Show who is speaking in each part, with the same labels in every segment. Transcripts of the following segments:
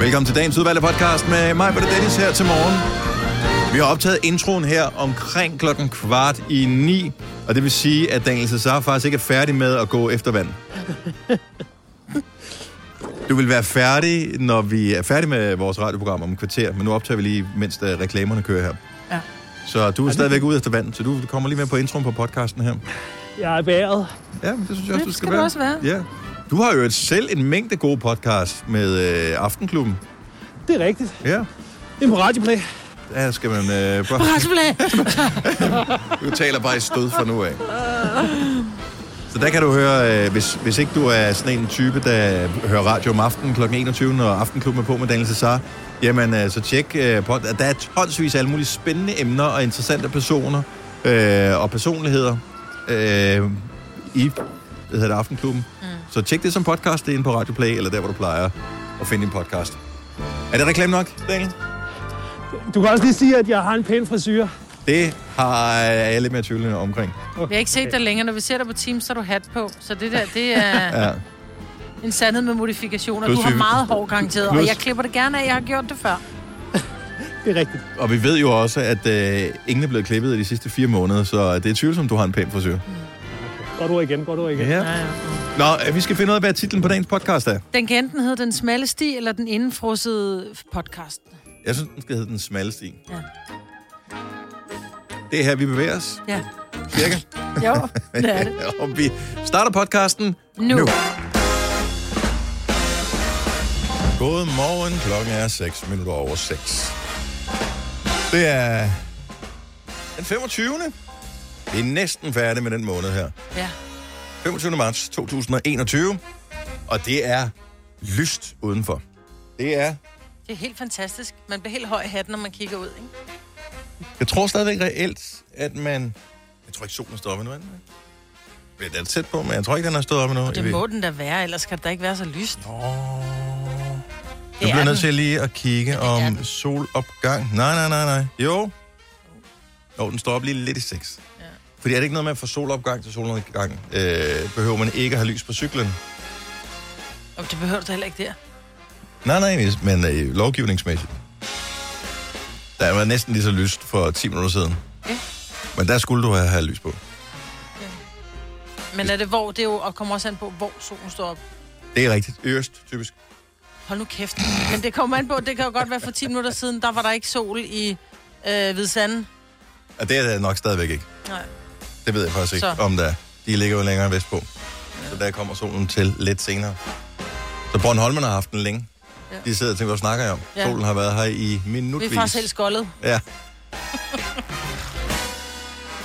Speaker 1: Velkommen til dagens udvalgte podcast med mig, Britt og Dennis, her til morgen. Vi har optaget introen her omkring klokken kvart i ni, og det vil sige, at Daniel Cesar faktisk ikke er færdig med at gå efter vand. Du vil være færdig, når vi er færdige med vores radioprogram om en kvarter, men nu optager vi lige, mens der reklamerne kører her.
Speaker 2: Ja.
Speaker 1: Så du er stadigvæk ude efter vand, så du kommer lige med på introen på podcasten her.
Speaker 2: Jeg er bæret.
Speaker 1: Ja, men det synes jeg også,
Speaker 3: Det
Speaker 1: du skal,
Speaker 3: skal du
Speaker 1: være.
Speaker 3: også være.
Speaker 1: Ja. Du har jo et- selv en mængde gode podcast med øh, Aftenklubben.
Speaker 2: Det er rigtigt.
Speaker 1: Ja,
Speaker 2: Det er på Radioplay.
Speaker 1: der skal man... Øh, bare... Du taler bare i stød fra nu af. Så der kan du høre, øh, hvis, hvis ikke du er sådan en type, der hører radio om aftenen kl. 21, når Aftenklubben er på med Daniel Cesar, jamen øh, så tjek øh, på, der er tonsvis af alle mulige spændende emner og interessante personer øh, og personligheder øh, i hvad hedder det, Aftenklubben. Mm. Så tjek det som podcast, det er inde på Radio Play, eller der, hvor du plejer at finde en podcast. Er det reklame nok, Daniel?
Speaker 2: Du kan også lige sige, at jeg har en pæn frisyr.
Speaker 1: Det har jeg lidt mere tvivlende omkring.
Speaker 3: Vi har ikke set dig længere. Når vi ser dig på Teams, så er du hat på. Så det der, det er
Speaker 1: Ja.
Speaker 3: en sandhed med modifikationer. Du
Speaker 1: Plus
Speaker 3: har
Speaker 1: vi-
Speaker 3: meget hård garanteret, og
Speaker 1: Plus-
Speaker 3: jeg klipper det gerne af. Jeg har gjort det før.
Speaker 2: Det er rigtigt.
Speaker 1: Og vi ved jo også, at øh, ingen er blevet klippet i de sidste fire måneder, så det er tvivlsomt, du har en pæn frisyr.
Speaker 2: Godt ord igen, godt ord igen.
Speaker 1: Ja. Nå, øh, vi skal finde ud af, hvad titlen på dagens podcast er.
Speaker 3: Den kan enten hedde Den Smalle Sti, eller Den Indenfrussede Podcast.
Speaker 1: Jeg synes, den skal hedde Den Smalle Sti.
Speaker 3: Ja.
Speaker 1: Det er her, vi bevæger os,
Speaker 3: Ja.
Speaker 1: cirka.
Speaker 3: Jo, det er det.
Speaker 1: Og vi starter podcasten
Speaker 3: Nu.
Speaker 1: nu. Godmorgen, klokken er 6 minutter over 6. Det er den 25. Vi er næsten færdige med den måned her.
Speaker 3: Ja.
Speaker 1: 25. marts 2021, og det er lyst udenfor. Det er,
Speaker 3: Det er helt fantastisk. Man bliver helt høj i hatten, når man kigger ud, ikke?
Speaker 1: jeg tror stadigvæk reelt, at man... Jeg tror ikke, solen står op endnu, er den det? Men Den er tæt på, men jeg tror ikke, den har stået op endnu. Jeg ved
Speaker 3: Det må den da være, ellers kan det da ikke være så lyst.
Speaker 1: ikke. Åh.
Speaker 3: Det
Speaker 1: Jeg
Speaker 3: er
Speaker 1: bliver nødt
Speaker 3: den.
Speaker 1: til lige at kigge
Speaker 3: det er
Speaker 1: om
Speaker 3: den.
Speaker 1: solopgang. Nej, nej, nej, nej. Jo. Jo, den står op lige lidt i seks. Ja.
Speaker 3: Ja.
Speaker 1: Fordi er det ikke noget med at fra solopgang til solnedgang, øh, behøver man ikke at have lys på cyklen?
Speaker 3: Og det behøver du da heller ikke der.
Speaker 1: Nej, nej, men øh, lovgivningsmæssigt. Der var næsten lige så lyst for 10 minutter siden.
Speaker 3: Ja.
Speaker 1: Men der skulle du have, have lys på.
Speaker 3: Men er det hvor? Det er jo, og kommer også an på, hvor solen står op.
Speaker 1: Det er rigtigt. I øst, typisk.
Speaker 3: Hold nu kæft. Men det kommer an på, det kan jo godt være for 10 minutter siden, der var der ikke sol i øh, Hvide Sande.
Speaker 1: Og det er det nok stadigvæk ikke.
Speaker 3: Nej.
Speaker 1: Det ved jeg faktisk ikke,
Speaker 3: Så.
Speaker 1: om der er. De ligger jo længere vestpå. Så der kommer solen til lidt senere. Så Bornholmerne har haft den længe.
Speaker 3: Ja.
Speaker 1: De sidder og tænker, hvad snakker jeg om?
Speaker 3: Ja.
Speaker 1: Solen har været her i
Speaker 3: Vi
Speaker 1: minutvis.
Speaker 3: er faktisk helt skoldet.
Speaker 1: Ja.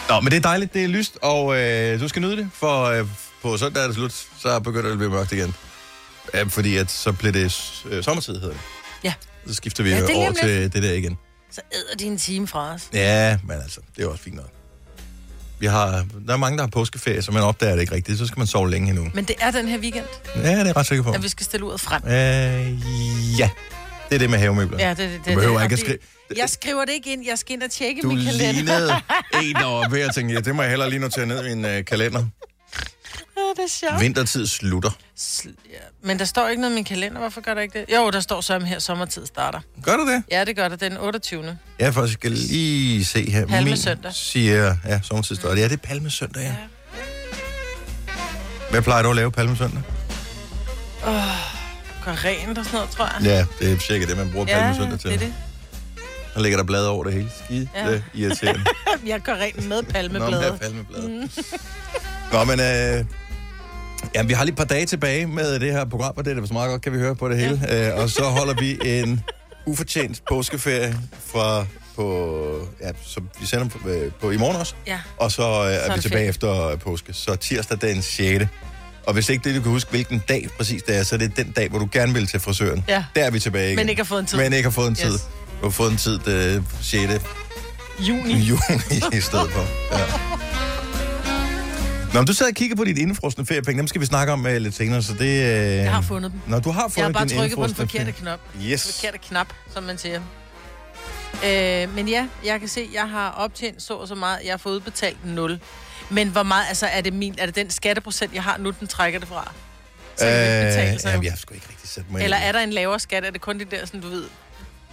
Speaker 1: Nå, men det er dejligt, det er lyst, og øh, du skal nyde det, for øh, på søndag er det slut, så begynder det at blive mørkt igen. Ja, fordi at, så bliver det s- øh, sommertid, hedder det.
Speaker 3: Ja.
Speaker 1: Så skifter vi
Speaker 3: Ja, det er
Speaker 1: ja,
Speaker 3: lige
Speaker 1: over
Speaker 3: om
Speaker 1: til det der igen.
Speaker 3: Så æder de en time fra os.
Speaker 1: Ja, men altså, det er jo også fint nok. Vi har, der er mange, der har påskeferie, så man opdager det ikke rigtigt, så skal man sove længe endnu.
Speaker 3: Men det er den her weekend,
Speaker 1: Ja, det er jeg ret sikker på.
Speaker 3: at vi skal stille uret frem.
Speaker 1: Øh, ja, det er det med havemøbler.
Speaker 3: Ja, det, det, det,
Speaker 1: Du behøver ikke at
Speaker 3: det, Og det-
Speaker 1: skrive-
Speaker 3: Jeg skriver det ikke ind. Jeg skal ind og tjekke
Speaker 1: Du
Speaker 3: min kalender.
Speaker 1: lignede en, der var ved at tænke, ja, det må jeg hellere lige notere ned i min øh, kalender.
Speaker 3: Ja, det er sjovt.
Speaker 1: Vintertid slutter.
Speaker 3: Sl- ja. Men der står ikke noget i min kalender. Hvorfor gør der ikke det? Jo, der står så om her, sommertid starter.
Speaker 1: Gør du det?
Speaker 3: Ja, det gør der. Den 28.
Speaker 1: Ja, for jeg skal lige se her.
Speaker 3: Palmesøndag.
Speaker 1: Min siger, ja, sommertid står. Ja, det er palmesøndag, ja. Hvad plejer du at lave palmesøndag?
Speaker 3: Gør rent og sådan noget, tror jeg.
Speaker 1: Ja, det er cirka det, man bruger ja, palmesøndag til.
Speaker 3: det er det.
Speaker 1: Så ligger der blade over det hele. Skide ja.
Speaker 3: Ja.
Speaker 1: irriterende.
Speaker 3: Jeg gør rent med Mm.
Speaker 1: Nå, men
Speaker 3: palmeblade.
Speaker 1: det er palmeblade. Nå, men øh, jamen, vi har lige et par dage tilbage med det her program, og det er da så meget godt, kan vi høre på det hele. Ja. Øh, og så holder vi en ufortjent påskeferie fra på, ja, som vi sender på, øh, på i morgen også.
Speaker 3: Ja.
Speaker 1: Og så øh, er,
Speaker 3: det
Speaker 1: vi
Speaker 3: fedt.
Speaker 1: tilbage efter øh, påske. Så tirsdag den 6. Og hvis ikke det, du kan huske, hvilken dag præcis det er, så er det den dag, hvor du gerne vil til frisøren.
Speaker 3: Ja.
Speaker 1: Der er vi tilbage igen.
Speaker 3: Men ikke har fået en tid.
Speaker 1: Men ikke har fået en tid.
Speaker 3: Yes.
Speaker 1: Du har fået en tid øh, den 6
Speaker 3: Juni.
Speaker 1: i juni i stedet for. Ja. Nå, men du sad og kiggede på dit indefrosne feriepenge. Dem skal vi snakke om uh, lidt senere, så det... Uh... Jeg
Speaker 3: har fundet dem.
Speaker 1: Nå, du har fundet
Speaker 3: Jeg har bare
Speaker 1: din
Speaker 3: trykket på den
Speaker 1: indefrosne
Speaker 3: forkerte
Speaker 1: ferie-
Speaker 3: knap.
Speaker 1: Yes.
Speaker 3: Den forkerte knap, som man siger. Øh, men ja, jeg kan se, jeg har optjent så og så meget. Jeg har fået udbetalt 0. Men hvor meget, altså er det min, er det den skatteprocent, jeg har nu, den trækker det fra? så kan det ikke betale sig.
Speaker 1: Øh, jamen,
Speaker 3: jo.
Speaker 1: jeg er sgu ikke rigtig sat mig
Speaker 3: Eller
Speaker 1: ind. i
Speaker 3: er der en lavere skat? Er det kun det der, sådan, du ved,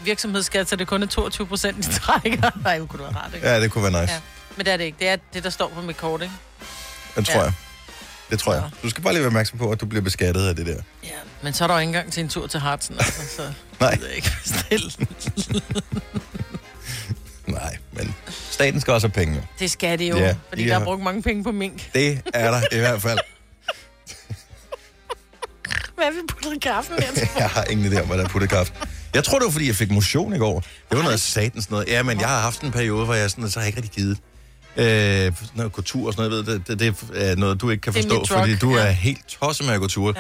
Speaker 3: virksomhedsskat, så det kun er 22 procent, de trækker? Nej, det kunne det være rart,
Speaker 1: det.
Speaker 3: ikke?
Speaker 1: Ja, det kunne være nice.
Speaker 3: Ja. Men det er det ikke. Det er det, der står på mit kort, ikke?
Speaker 1: Det tror
Speaker 3: Ja.
Speaker 1: jeg. Det tror jeg. Du skal bare lige være opmærksom på, at du bliver beskattet af det der.
Speaker 3: Ja. Men så er der jo ikke engang til en tur til Hartsen, altså, så
Speaker 1: Nej.
Speaker 3: det ved jeg ikke bestille.
Speaker 1: Nej, men staten skal også have penge. jo.
Speaker 3: Det skal det jo,
Speaker 1: Ja,
Speaker 3: ja. fordi
Speaker 1: de
Speaker 3: der
Speaker 1: har-
Speaker 3: har brugt mange penge på mink.
Speaker 1: Det er der i hvert fald.
Speaker 3: Hvad vil putte i kaffen der til?
Speaker 1: Jeg har ingen idé om, hvad der er puttet kaffe. Jeg tror, det var, fordi jeg fik motion i går. Det var noget satans noget. Ja, men jeg har haft en periode, hvor jeg sådan, så har jeg ikke rigtig givet. Øh, sådan noget kultur og sådan noget, jeg ved, det, det, det er noget, du ikke kan
Speaker 3: Det er
Speaker 1: forstå,
Speaker 3: mit drug,
Speaker 1: fordi du er
Speaker 3: ja.
Speaker 1: helt tosset med at gå tur.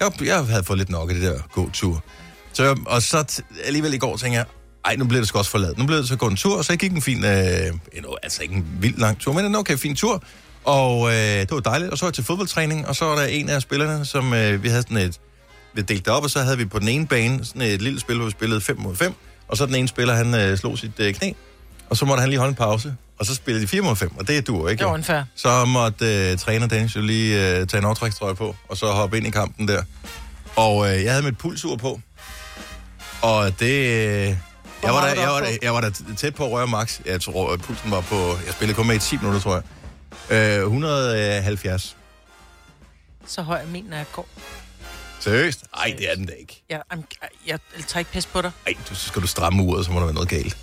Speaker 1: Ja. Jeg, jeg havde fået lidt nok af det der gå tur. Så, jeg- og så t- alligevel i går tænkte jeg, ej, nu blev det sgu også forladt. Nu blev det så gå en tur, så jeg gik en fin, øh, en, altså ikke en vild lang tur, men en okay fin tur. Og øh, det var dejligt. Og så var jeg til fodboldtræning, og så var der en af spillerne, som øh, vi havde sådan et, vi delte det op, og så havde vi på den ene bane sådan et lille spil, hvor vi spillede 5 mod 5, og så den ene spiller, han øh, slog sit øh, knæ, og så måtte han lige holde en pause, og så spillede de 4 mod 5, og det duer ikke.
Speaker 3: Det var
Speaker 1: jo.
Speaker 3: unfair.
Speaker 1: Så måtte øh, træner Dennis jo lige øh, tage en overtrækstrøje på, og så hoppe ind i kampen der. Og øh, jeg havde mit pulsur på, og det... Øh, jeg, var
Speaker 3: meget
Speaker 1: da, jeg,
Speaker 3: var
Speaker 1: var
Speaker 3: der
Speaker 1: da, jeg var da tæt på at røre max. Jeg tror, at pulsen var på... Jeg spillede kun med i 10 minutter, tror jeg. Øh, 170.
Speaker 3: Så høj er min, når jeg går.
Speaker 1: Seriøst? Ej, det er den da ikke.
Speaker 3: Jeg, jeg, jeg, jeg tager ikke pis på dig.
Speaker 1: Ej, du, så skal du stramme uret, så må der være noget galt.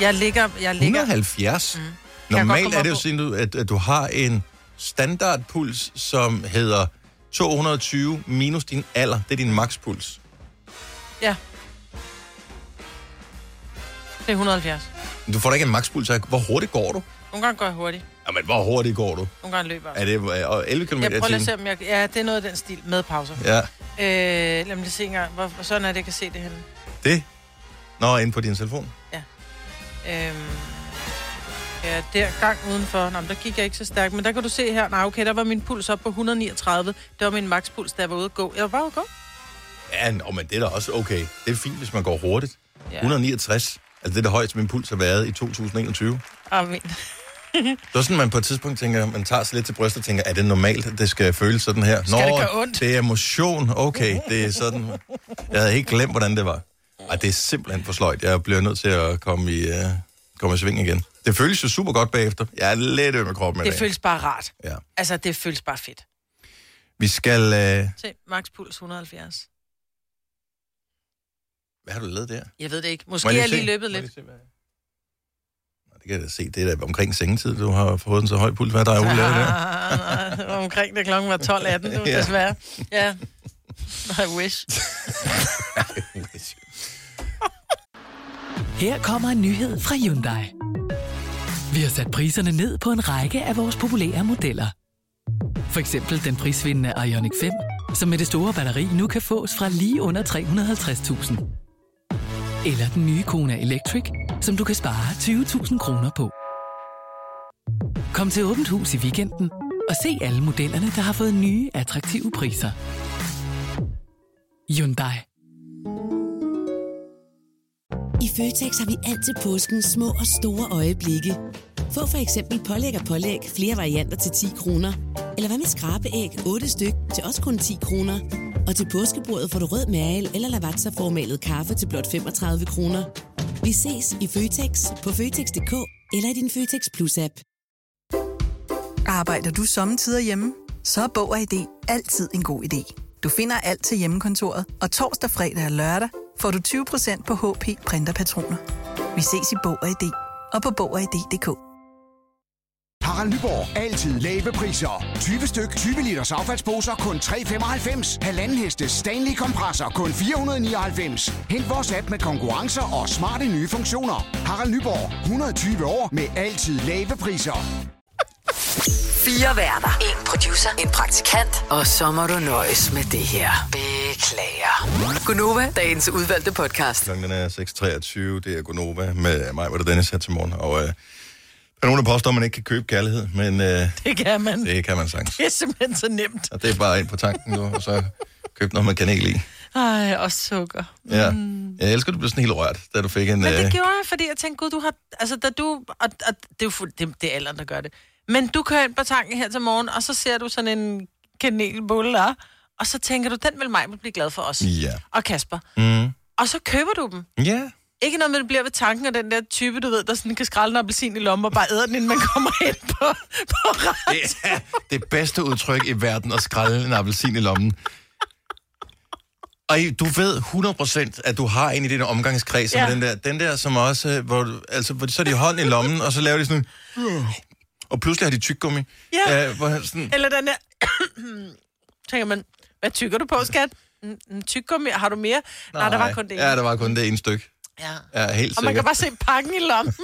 Speaker 3: Jeg ligger... Jeg ligger
Speaker 1: 170? Mm.
Speaker 3: jeg godt
Speaker 1: Normalt
Speaker 3: komme
Speaker 1: er
Speaker 3: op
Speaker 1: det jo
Speaker 3: på?
Speaker 1: sådan, du- at, at du har en standardpuls, som hedder 220 minus din alder. Det er din makspuls.
Speaker 3: ja. Det er 170.
Speaker 1: Du får da ikke en makspuls af, hvor hurtigt går du?
Speaker 3: Nogle gange går jeg hurtigt.
Speaker 1: Jamen, hvor hurtigt går du?
Speaker 3: Nogle gange løber jeg.
Speaker 1: Er det øh, og 11 km i
Speaker 3: Jeg prøver lige at
Speaker 1: timen?
Speaker 3: se, om jeg... Ja, det er noget af den stil med pauser.
Speaker 1: Ja,
Speaker 3: Øh, lad mig lige se engang, hvor, hvor sådan er det, jeg kan se det henne.
Speaker 1: det. Nå, inde på din telefon.
Speaker 3: Øhm, ja, der gang udenfor. Nå, men der gik jeg ikke så stærkt, men der kan du se her. Nej, okay, der var min puls op på 139. Det var min makspuls, da jeg var ude at gå. Jeg var bare ude at gå.
Speaker 1: Ja, nå, men det er da også okay. Det er fint, hvis man går hurtigt.
Speaker 3: Ja.
Speaker 1: 169. Altså, det er det højeste, min puls har været i 2021.
Speaker 3: Amen.
Speaker 1: Det er sådan, man på et tidspunkt tænker, man tager sig lidt til brystet og tænker, er det normalt, at det skal føles sådan her? Nå,
Speaker 3: det gøre ondt?
Speaker 1: det er motion. Okay, det er sådan. Jeg havde helt glemt, hvordan det var. Ej, det er simpelthen for sløjt. Jeg bliver nødt til at komme i, uh, komme i sving igen. Det føles jo super godt bagefter. Jeg er lidt øm i kroppen i
Speaker 3: Det
Speaker 1: dag.
Speaker 3: føles bare rart.
Speaker 1: Ja.
Speaker 3: Altså, det føles bare fedt.
Speaker 1: Vi skal... Uh...
Speaker 3: Se, makspuls 170.
Speaker 1: Hvad har du lavet der?
Speaker 3: Jeg ved det ikke.
Speaker 1: Må
Speaker 3: Måske er jeg
Speaker 1: se?
Speaker 3: lige løbet
Speaker 1: Må jeg
Speaker 3: lidt.
Speaker 1: se, hvad- Nå, Det kan jeg da se. Det er da omkring sengetid, du har fået en så høj puls. Hvad er der, Ole, lavet der?
Speaker 3: Ah, omkring det klokken var 12.18, nu,
Speaker 1: Ja.
Speaker 3: desværre. Ja. I wish.
Speaker 4: Her kommer en nyhed fra Hyundai. Vi har sat priserne ned på en række af vores populære modeller. For eksempel den prisvindende Ioniq 5, som med det store batteri nu kan fås fra lige under 350.000. Eller den nye Kona Electric, som du kan spare 20.000 kroner på. Kom til Åbent Hus i weekenden og se alle modellerne, der har fået nye, attraktive priser. Hyundai.
Speaker 5: I Føtex har vi altid påsken små og store øjeblikke. Få for eksempel pålæg og pålæg flere varianter til 10 kroner. Eller hvad med skrabeæg 8 styk til også kun 10 kroner. Og til påskebordet får du rød mal eller lavatserformalet kaffe til blot 35 kroner. Vi ses i Føtex på Føtex.dk eller i din Føtex Plus-app.
Speaker 6: Arbejder du sommetider hjemme? Så er Bog og ID altid en god idé. Du finder alt til hjemmekontoret, og torsdag, fredag og lørdag får du 20% på HP Printerpatroner. Vi ses i Bog og ID og på Bog og ID.dk.
Speaker 7: Harald Nyborg. Altid lave priser. 20 styk, 20 liters affaldsposer kun 3,95. Halvanden heste Stanley kompresser kun 499. Hent vores app med konkurrencer og smarte nye funktioner. Harald Nyborg. 120 år med altid lave priser.
Speaker 8: Fire værter. En producer. En praktikant.
Speaker 4: Og så må du nøjes med det her. Beklager. Gunova, dagens udvalgte podcast.
Speaker 1: Klokken den er 6.23. Det er Gonova med mig, hvor det er Dennis her til morgen. Og øh, der er nogen, der påstår, at man ikke kan købe kærlighed, men øh,
Speaker 3: Det kan man. Det
Speaker 1: det kan man sagtens.
Speaker 3: er simpelthen så nemt.
Speaker 1: Og det er bare ind på tanken nu, og så køb noget med kanel i.
Speaker 3: Ej, og sukker.
Speaker 1: Ja. Jeg elsker, at du blev sådan helt rørt, da du fik en...
Speaker 3: Mm. Men
Speaker 1: øh,
Speaker 3: det gjorde jeg, fordi jeg tænkte, gud, du har... Altså, da du... Og, og det er jo fuld, det, det er alderen, der gør det. Men du kører ind på tanken her til morgen, og så ser du sådan en kanelbolle, der, Og så tænker du, den vil mig vil blive glad for os.
Speaker 1: Ja.
Speaker 3: Og Kasper.
Speaker 1: Mm.
Speaker 3: Og så køber du dem.
Speaker 1: Ja.
Speaker 3: Ikke noget med, det bliver ved tanken af den der type, du ved, der sådan kan skrælle en appelsin i lommen og bare æder den, inden man kommer ind på, på ret.
Speaker 1: Det er det bedste udtryk i verden at skrælle en appelsin i lommen. Og I- du ved 100% at du har en i din omgangskreds, som
Speaker 3: Ja.
Speaker 1: ja. den der, den der som også, øh, hvor, du- altså, hvor de- så er de hånden i lommen, og så laver de sådan, en- og pludselig har de tyggegummi.
Speaker 3: Ja.
Speaker 1: Øh, hvor han sådan,
Speaker 3: Eller den der... tænker man, hvad tykker du på, skat? Mm, mm, Tyggegummi, har du mere? Nej, der var kun det.
Speaker 1: Ja, der var kun det ene stykke.
Speaker 3: ja.
Speaker 1: Ja, helt
Speaker 3: Og man kan
Speaker 1: sikkert.
Speaker 3: bare se pakken i lommen.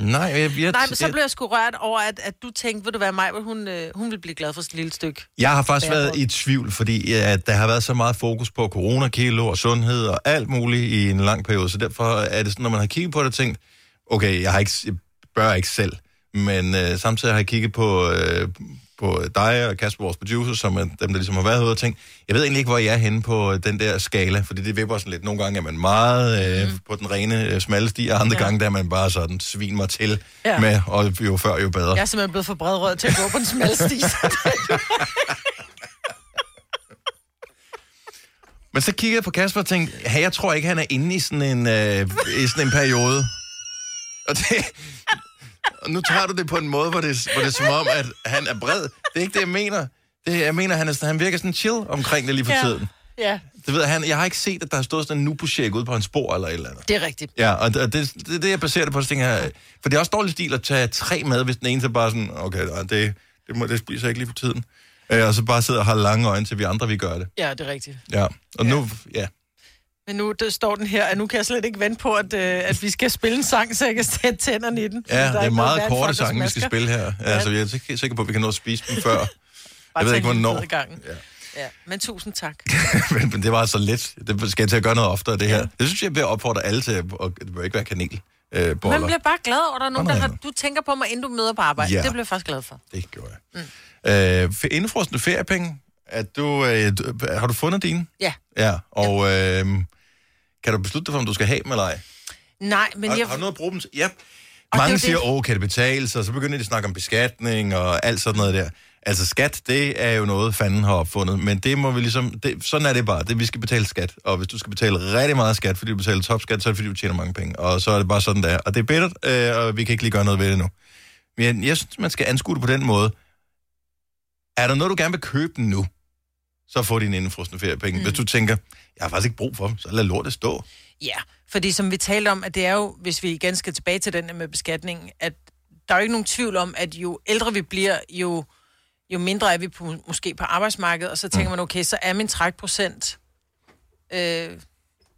Speaker 1: Nej, jeg, jeg,
Speaker 3: Nej, men så
Speaker 1: jeg,
Speaker 3: blev jeg sgu rørt over, at, at du tænkte, vil du være mig, hun, øh, hun ville blive glad for sit lille stykke.
Speaker 1: jeg har faktisk været
Speaker 3: Bærbar.
Speaker 1: i tvivl, fordi at der har været så meget fokus på coronakilo og sundhed og alt muligt i en lang periode, så derfor er det sådan, når man har kigget på det, tænkt, okay, jeg, har ikke, jeg bør ikke selv, men øh, samtidig har jeg kigget på, øh, på dig og Kasper, vores producer, som er dem, der ligesom har været herude og tænkt, jeg ved egentlig ikke, hvor jeg er henne på øh, den der skala, fordi det vipper sådan lidt. Nogle gange er man meget øh, på den rene, øh, smalle sti, og andre ja. gange der er man bare sådan, svin mig til
Speaker 3: Ja.
Speaker 1: ja. med, og jo før, jo bedre.
Speaker 3: Jeg er simpelthen blevet for bredrød til at gå på en smal sti.
Speaker 1: Men så kiggede jeg på Kasper og tænkte, hey, jeg tror ikke, han er inde i sådan en, øh, i sådan en periode. Og, det, og nu tager du det på en måde, hvor det, hvor det er som om, at han er bred. Det er ikke det, jeg mener. Det, jeg mener, han, er, sådan- han virker sådan chill omkring det lige for
Speaker 3: Ja.
Speaker 1: ja. tiden.
Speaker 3: ja,
Speaker 1: Det ved jeg, han, jeg har ikke set, at der har stået sådan en nubu ude på hans spor eller et eller andet.
Speaker 3: det er rigtigt.
Speaker 1: Ja, og det, og det, det er det, jeg baserer det på. Så tænker jeg, for det er også dårlig stil at tage tre med, hvis den ene så bare sådan, okay, nej, det, det, må, det spiser jeg ikke lige for tiden. Øh, og så bare sidder og har lange øjne til vi andre, vi gør det.
Speaker 3: Ja, det er rigtigt.
Speaker 1: Ja, og ja. nu, ja,
Speaker 3: Men nu der står den her, at nu kan jeg slet ikke vente på, at, øh, at vi skal spille en sang, så jeg kan sætte tænderne i den. Fordi
Speaker 1: Ja,
Speaker 3: der
Speaker 1: det er
Speaker 3: ikke noget
Speaker 1: meget
Speaker 3: værre end
Speaker 1: korte
Speaker 3: folk, der
Speaker 1: sange, vi skal
Speaker 3: smasker.
Speaker 1: spille her. Ja, altså, jeg er ikke helt sikker på, at vi kan nå at spise dem før.
Speaker 3: Bare
Speaker 1: jeg ved
Speaker 3: tag
Speaker 1: ikke,
Speaker 3: en lille
Speaker 1: hvornår.
Speaker 3: bid ad gangen.
Speaker 1: Ja.
Speaker 3: Ja, men tusind tak.
Speaker 1: men, men det var altså lidt. Det skal jeg til at gøre noget oftere, det her. Jeg synes, jeg vil opfordre alle til, at og det bør ikke være kanel. Øh,
Speaker 3: Man
Speaker 1: boller.
Speaker 3: bliver bare glad over, at der er nogen, der
Speaker 1: Sådan
Speaker 3: har,
Speaker 1: er
Speaker 3: du tænker på mig, inden du møder på arbejde.
Speaker 1: Ja.
Speaker 3: Det bliver jeg faktisk glad for.
Speaker 1: Det gjorde jeg. Mm. Øh, for indfrosne feriepenge, er du, øh, du, har du fundet dine?
Speaker 3: Ja.
Speaker 1: Ja, og øh, kan du beslutte dig for, om du skal have dem eller ej?
Speaker 3: Nej, men
Speaker 1: Men jeg...
Speaker 3: jeg...
Speaker 1: Har, har du noget at bruge dem til? Ja.
Speaker 3: Og det er
Speaker 1: Mange
Speaker 3: jo
Speaker 1: siger,
Speaker 3: det.
Speaker 1: åh, kan det betale sig? Så begynder de at snakke om beskatning og alt sådan noget der. Altså skat, det er jo noget, fanden har opfundet, men det må vi ligesom, det, sådan er det bare, det, vi skal betale skat. Og hvis du skal betale rigtig meget skat, fordi du betaler topskat, så er det fordi, du tjener mange penge. Og så er det bare sådan, der. Og det er bittert, øh, og vi kan ikke lige gøre noget ved det nu. Men jeg synes, man skal anskue det på den måde. Er der noget, du gerne vil købe nu, så få dine indefrosne feriepenge. Mm. Hvis du tænker, jeg har faktisk ikke brug for dem, så lad lortet stå.
Speaker 3: Ja, fordi som vi talte om, at det er jo, hvis vi igen skal tilbage til den der med beskatningen, at der er jo ikke nogen tvivl om, at jo ældre vi bliver, jo, jo mindre er vi på, måske på arbejdsmarkedet, og så
Speaker 1: Mm.
Speaker 3: tænker man, okay, så er min trækprocent, øh, det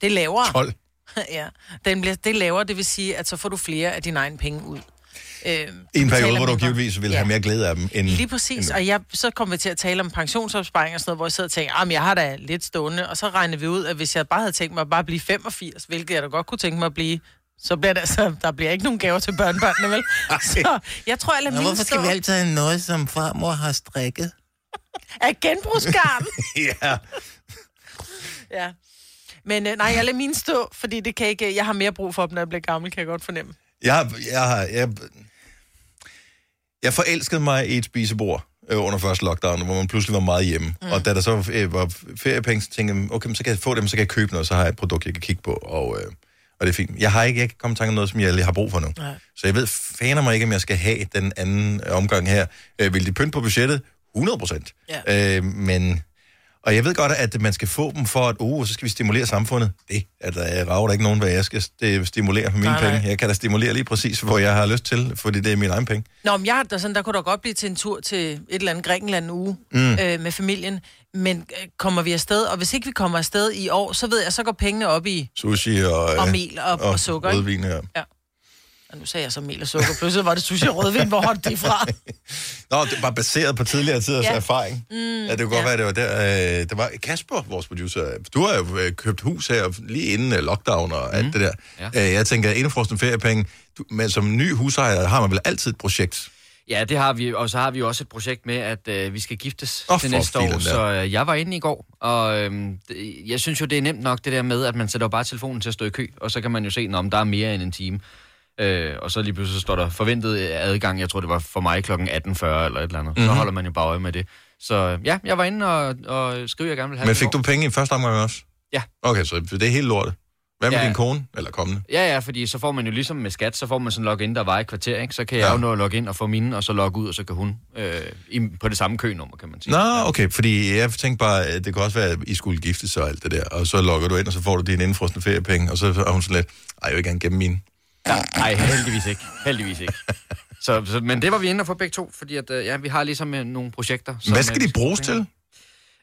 Speaker 3: er lavere.
Speaker 1: 12.
Speaker 3: ja, den bliver, det er lavere, det vil sige, at så får du flere af dine egne penge ud. Øh,
Speaker 1: I en periode,
Speaker 3: betaler
Speaker 1: hvor du
Speaker 3: mindre.
Speaker 1: givetvis ville ja.
Speaker 3: Ja.
Speaker 1: have mere glæde af dem. End,
Speaker 3: Lige præcis, og jeg, så kom vi til at tale om pensionsopsparing og sådan noget, hvor jeg sad og tænkte, at jeg har da lidt stående, og så regnede vi ud, at hvis jeg bare havde tænkt mig at bare blive 85, hvilket jeg da godt kunne tænke mig at blive, så bliver der, så der bliver ikke nogen gaver til børnebørnene, vel? Så jeg tror, jeg lader mine stå
Speaker 1: altid have noget, som farmor har strikket?
Speaker 3: af genbrugsgarn.
Speaker 1: ja.
Speaker 3: ja. Men øh, nej, jeg lader mine stå, fordi det kan ikke, jeg har mere brug for dem, når jeg bliver gammel, kan jeg godt fornemme.
Speaker 1: Jeg, har- jeg, har- jeg, jeg forelskede mig i et spisebord øh, under første lockdown, hvor man pludselig var meget hjemme. Mm. Og da der så øh, var feriepenge, så tænkte jeg, okay, men så kan jeg få dem, så kan jeg købe noget, så har jeg et produkt, jeg kan kigge på, og, øh, og det er fint. Jeg har ikke, jeg kan komme i tanke om noget, som jeg lige har brug for nu.
Speaker 3: Nej.
Speaker 1: Så jeg ved faner mig ikke, om jeg skal have den anden øh, omgang her. Øh, vil de pynte på budgettet? 100 procent.
Speaker 3: Ja.
Speaker 1: Øh, men... Og jeg ved godt, at man skal få dem for, at oh, så skal vi stimulere samfundet. Det er der, jeg rager der ikke nogen, hvad jeg skal øh, stimulere for mine
Speaker 3: Nej,
Speaker 1: nej,
Speaker 3: nej.
Speaker 1: penge. Jeg kan da stimulere lige præcis, hvor jeg har lyst til, fordi det er mine egne penge.
Speaker 3: Nå, men jeg, har- der, sådan, der kunne da godt blive til en tur til et eller andet Grækenland en uge mm. øh, med familien, men øh, kommer vi afsted, og hvis ikke vi kommer afsted i år, så ved jeg, så går pengene op i,
Speaker 1: Sushi og,
Speaker 3: Og mel og- og sukker, ikke?
Speaker 1: Rødvin, ja.
Speaker 3: og nu sagde jeg så mel og sukker, pludselig var det sushi og rødvin, hvor holdt det fra?
Speaker 1: Nå, det var baseret på tidligere tiders
Speaker 3: Ja.
Speaker 1: ja. erfaring. Mm, ja, det kunne godt
Speaker 3: ja.
Speaker 1: ja. være, det var der. Øh, der var Kasper, vores producer. Du har jo øh, købt hus her lige inden øh, lockdown og mm. alt det der. Ja. Øh, jeg tænker, indefrosne feriepenge. Du, men som ny husejer har man vel altid et projekt.
Speaker 9: Ja, det har vi, og så har vi jo også et projekt med, at øh, vi skal giftes
Speaker 1: Åh,
Speaker 9: oh, til
Speaker 1: for
Speaker 9: næste år,
Speaker 1: filan da.
Speaker 9: så øh, jeg var inde i går, og øh, jeg synes jo, det er nemt nok det der med, at man sætter jo bare telefonen til at stå i kø, og så kan man jo se, om der er mere end en time. Øh, og så lige pludselig så står der forventet øh, adgang, jeg tror det var for mig klokken 18.40 eller et eller andet. Mm-hmm.
Speaker 1: Mhm.
Speaker 9: Så holder man jo bare øje med det. Så øh, ja, jeg var inde og, og skrev, jeg gerne ville have
Speaker 1: Men
Speaker 9: det i
Speaker 1: fik
Speaker 9: går.
Speaker 1: du penge i første omgang også?
Speaker 9: Ja.
Speaker 1: Okay, så det er helt lortet. Hvad med
Speaker 9: Ja.
Speaker 1: din kone? Eller kommende?
Speaker 9: Ja, ja, fordi så får man jo ligesom med skat, så får man sådan en login, der var i kvarter, ikke? Så kan jeg
Speaker 1: Ja.
Speaker 9: jo nå at logge ind og få mine, og så logge ud, og så kan hun øh, i, på det samme kønummer, kan man sige.
Speaker 1: Nå, okay, fordi jeg tænkte bare, at det kunne også være, at I skulle gifte sig og alt det der, og så logger du ind, og så får du dine indfrosne feriepenge, og så er hun sådan lidt, ej, jeg vil gerne gemme mine.
Speaker 9: Nej, heldigvis ikke. Heldigvis ikke. Så, så, men det var vi inde og få begge to, fordi at, øh, ja, vi har ligesom øh, nogle projekter. som,
Speaker 1: Hvad
Speaker 9: øh,
Speaker 1: skal
Speaker 9: vi
Speaker 1: de bruges
Speaker 9: finde.
Speaker 1: til?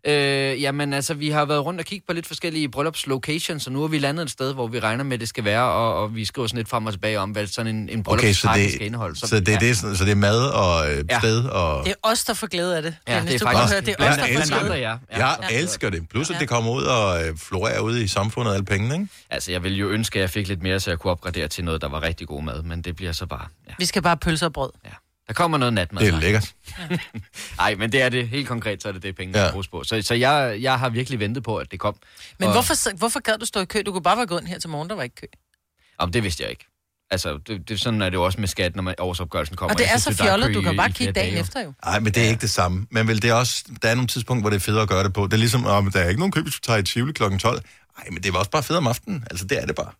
Speaker 9: Øh, jamen altså, vi har været rundt og kigget på lidt forskellige bryllupslocations, og nu er vi landet et sted, hvor vi regner med, at det skal være, og, og vi skriver sådan lidt frem og tilbage om, hvad sådan en, en
Speaker 1: Okay, så
Speaker 9: bryllupspakke
Speaker 1: det,
Speaker 9: skal indeholde.
Speaker 1: så, det, er det, sådan- så det er mad og øh,
Speaker 9: Ja.
Speaker 1: sted og...
Speaker 3: Det er os, der får glæde af det.
Speaker 9: Ja,
Speaker 3: Dennis.
Speaker 9: det
Speaker 3: Du
Speaker 9: er faktisk-
Speaker 3: kan høre, det er
Speaker 9: Ja,
Speaker 3: os,
Speaker 9: det
Speaker 3: der
Speaker 9: er
Speaker 3: får
Speaker 9: elsker
Speaker 3: glæde.
Speaker 9: det. ja. Ja.
Speaker 1: Jeg elsker det. Plus, at det kommer ud og øh, florerer ude i samfundet af alle pengene, ikke?
Speaker 9: Altså, jeg ville jo ønske, at jeg fik lidt mere, så jeg kunne opgradere til noget, der var rigtig god mad, men det bliver så bare... Ja,
Speaker 3: Vi skal bare have pølser og brød.
Speaker 9: ja. Der kommer noget natmad.
Speaker 1: Det er
Speaker 9: snart.
Speaker 1: lækkert.
Speaker 9: Nej, men det er det. Helt konkret, så er det det, pengene
Speaker 1: Ja.
Speaker 9: ja. bruges på. Så, så jeg, jeg har virkelig ventet på, at det kom.
Speaker 3: Men
Speaker 9: Og-
Speaker 3: hvorfor, hvorfor gad du stå i kø? Du kunne bare være gået ind her til morgen, der var ikke kø.
Speaker 9: Jamen, det vidste jeg ikke. Altså, det, det, sådan er det jo også med skat, når man, årsopgørelsen kommer.
Speaker 3: Og det
Speaker 9: Jeg
Speaker 3: er
Speaker 9: synes
Speaker 3: så
Speaker 9: jo, der kø
Speaker 3: fjollet, du
Speaker 9: i-
Speaker 3: kan bare
Speaker 9: i
Speaker 3: kigge
Speaker 9: flere
Speaker 3: dagen
Speaker 9: dage, jo.
Speaker 3: efter jo.
Speaker 1: Nej, men det er ikke det samme. Men vil det også, der er nogle tidspunkter, hvor det er federe at gøre det på. Det er ligesom, om der er ikke nogen køb, hvis du tager i Tivoli kl. 12. Nej, men det var også bare federe om aftenen. Altså, det er det bare.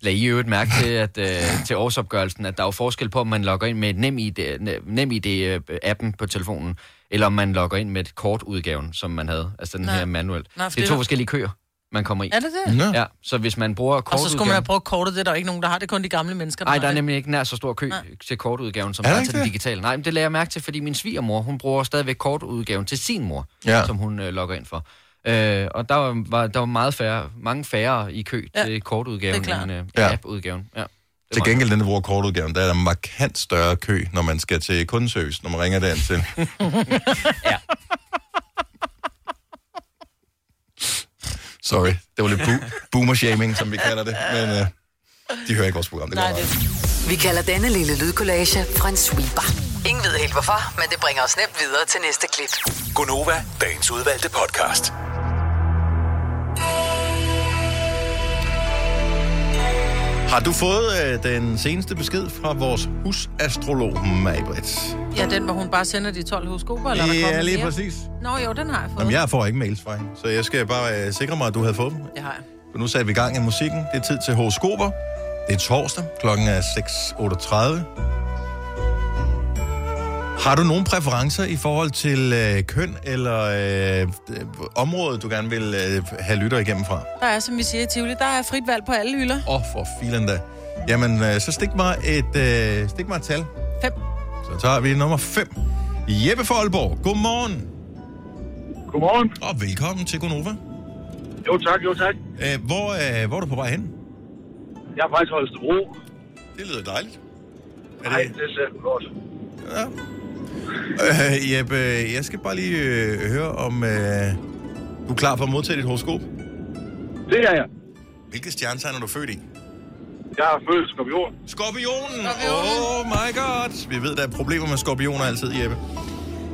Speaker 9: Lad I øvrigt mærke til, at, øh, til årsopgørelsen, at der er jo forskel på, om man logger ind med et nem ID, nem ID appen på telefonen, eller om man logger ind med et kortudgaven, som man havde, altså den
Speaker 3: Nej.
Speaker 9: her manuelt.
Speaker 3: Nej, for
Speaker 9: det er
Speaker 3: det
Speaker 9: to
Speaker 3: er-
Speaker 9: forskellige køer, man kommer i.
Speaker 3: Er det det?
Speaker 1: Nå.
Speaker 9: Ja, så hvis man bruger
Speaker 3: Og så skulle man
Speaker 9: kortudgaven...
Speaker 3: have brugt kortet, det er der jo ikke nogen, der har. Det er kun de gamle mennesker,
Speaker 9: Nej,
Speaker 3: har
Speaker 9: der er
Speaker 3: det.
Speaker 9: nemlig ikke nær så stor kø
Speaker 3: Nej.
Speaker 9: til kortudgaven, som
Speaker 1: Er
Speaker 9: der
Speaker 1: der
Speaker 9: er
Speaker 1: ikke
Speaker 9: til den
Speaker 1: det?
Speaker 9: digitale. Nej, men det lader jeg mærke til, fordi min svigermor, hun bruger stadigvæk kortudgaven til sin mor,
Speaker 1: Ja.
Speaker 9: ja. som hun øh, logger ind for. Øh, og der var- var, der var meget færre, mange færre i kø
Speaker 3: Ja,
Speaker 9: til kortudgaven
Speaker 3: det er
Speaker 9: end øh,
Speaker 1: Ja.
Speaker 9: app-udgaven. Ja.
Speaker 1: Til gengæld den, der bruger kortudgaven, der er der markant større kø, når man skal til kundeservice, når man ringer derind til.
Speaker 9: Ja.
Speaker 1: Sorry, det var lidt bo- boomer-shaming, som vi kalder det. Men øh, de hører ikke vores program, det går
Speaker 3: Nej,
Speaker 1: Nej,
Speaker 3: det
Speaker 8: Vi kalder denne lille lydkollage en sweeper. Ingen ved helt hvorfor, men det bringer os nemt videre til næste klip.
Speaker 10: Gonova, dagens udvalgte podcast.
Speaker 1: Har du fået øh, den seneste besked fra vores husastrolog, Mabrit?
Speaker 3: Ja, den, hvor hun bare sender de 12 horoskoper, eller er der
Speaker 1: Ja,
Speaker 3: kommer
Speaker 1: lige
Speaker 3: mere?
Speaker 1: præcis.
Speaker 3: Nå, jo, den har jeg fået.
Speaker 1: Jamen, jeg får ikke mails fra hende, så jeg skal bare øh, sikre mig, at du havde fået dem.
Speaker 3: Det har jeg.
Speaker 1: For nu sætter vi i gang af musikken. Det er tid til horoskoper. Det er torsdag, klokken er 6.38. Har du nogen præferencer i forhold til øh, køn eller øh, øh, område, du gerne vil øh, have lytter igennem fra?
Speaker 3: Der er, som vi siger i Tivoli, der er frit valg på alle hylder.
Speaker 1: Åh, oh, for filen da. Jamen, øh, så stik mig, et, øh, stik mig et tal.
Speaker 3: Fem.
Speaker 1: Så tager vi nummer 5. Jeppe fra Aalborg, godmorgen
Speaker 2: Godmorgen.
Speaker 1: og velkommen til Gonova.
Speaker 2: Jo tak, jo tak.
Speaker 1: Øh, hvor, øh, hvor er du på vej hen?
Speaker 2: Jeg er faktisk Holstebro.
Speaker 1: Det lyder dejligt. Er
Speaker 2: Nej, det ser godt.
Speaker 1: Ja. Øh, Jeppe, jeg skal bare lige øh, høre, om øh, du er klar for at modtage dit horoskop.
Speaker 2: Det er jeg.
Speaker 1: Hvilke stjernetegn er du født i?
Speaker 2: Jeg er født skorpion.
Speaker 1: Skorpionen! Oh my god! Vi ved, der er problemer med skorpioner altid, Jeppe.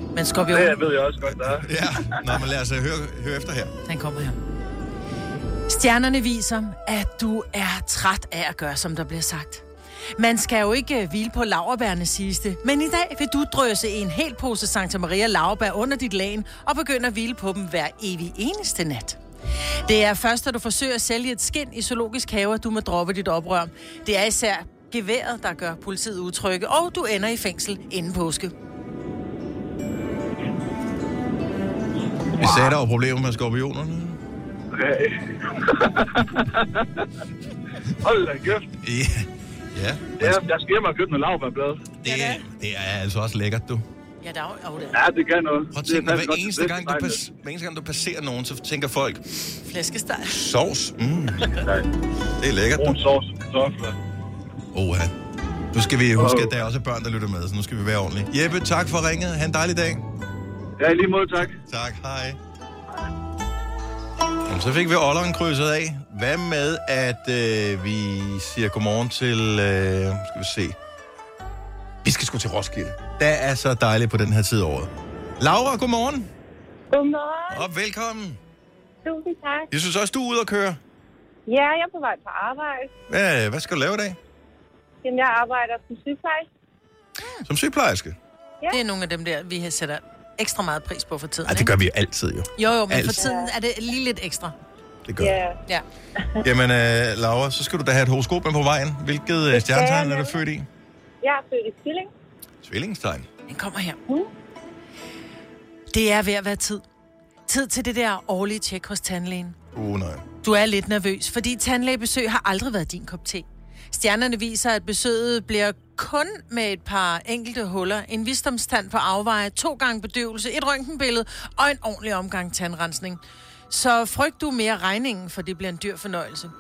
Speaker 3: Men
Speaker 2: Det
Speaker 3: Skorpion,
Speaker 2: ved jeg også godt, der er.
Speaker 1: Ja, Nå, men lad os øh, høre, høre efter her.
Speaker 3: den kommer her. Stjernerne viser, at du er træt af at gøre, som der bliver sagt. Man skal jo ikke øh, hvile på laverbærene, siges det. Men i dag vil du drøse en hel pose Santa Maria laverbær under dit lagen og begynde at hvile på dem hver evig eneste nat. Det er først, da du forsøger at sælge et skin i zoologisk have, at du må droppe dit oprør. Det er især geværet, der gør politiet utrygge, og du ender i fængsel inden påske.
Speaker 1: Vi sagde, der var problemer med skorpionerne.
Speaker 2: Hold da kæft.
Speaker 1: Ja, ja.
Speaker 2: Ja, jeg skal hjem og købe noget lavbærblad.
Speaker 1: Det, det er altså også lækkert, du.
Speaker 3: Ja, der er jo oh, der
Speaker 2: Ja, det kan noget.
Speaker 1: Prøv at tænke, dig,
Speaker 2: fandme
Speaker 1: hver
Speaker 2: godt
Speaker 1: eneste,
Speaker 2: til
Speaker 1: gang, du
Speaker 2: bedste
Speaker 1: pas, hver eneste gang, du passerer nogen, så tænker folk,
Speaker 3: er flæskesteg.
Speaker 1: sovs, mm,
Speaker 2: tegn. Nej,
Speaker 1: det er lækkert, du.
Speaker 2: Brun sovs og kartofler.
Speaker 1: Oha. Nu skal vi huske, at der er også børn, der lytter med, så nu skal vi være ordentlige. Jeppe, tak for ringet. Ha' en dejlig dag.
Speaker 2: Ja, i lige måde, tak.
Speaker 1: Tak, hej. Jamen, så fik vi Olleren krydset af. Hvad med, at øh, vi siger godmorgen til... Øh, skal vi se. Vi skal sgu til Roskilde. Der er så dejligt på den her tid af året. Laura, godmorgen.
Speaker 11: Godmorgen.
Speaker 1: Og velkommen.
Speaker 11: Tusind tak.
Speaker 1: Jeg synes også, du er ude at køre.
Speaker 11: Ja, jeg er på vej på arbejde.
Speaker 1: Hvad, hvad skal du lave i dag?
Speaker 11: Jamen, jeg arbejder som sygeplejerske.
Speaker 1: Som sygeplejerske?
Speaker 3: Ja. Det er nogle af dem der, vi har sætter ekstra meget pris på for tiden.
Speaker 1: Ej, det gør vi jo altid jo.
Speaker 3: Jo, jo, men
Speaker 1: altid.
Speaker 3: for tiden er det lige lidt ekstra.
Speaker 1: Det gør
Speaker 3: Ja. ja.
Speaker 1: Jamen, øh, Laura, så skal du da have et horoskop med på vejen. Hvilket øh, stjernetegn er du født i?
Speaker 11: Jeg er født i Stilling.
Speaker 1: Tvillingstegn.
Speaker 3: Den kommer her. Det er ved at være tid. Tid til det der årlige tjek hos tandlægen.
Speaker 1: Uh, nej.
Speaker 3: Du er lidt nervøs, fordi tandlægebesøg har aldrig været din kop te. Stjernerne viser, at besøget bliver kun med et par enkelte huller, en visdomstand på afveje, to gange bedøvelse, et røntgenbillede og en ordentlig omgang tandrensning. Så frygt du mere regningen, for det bliver en dyr fornøjelse.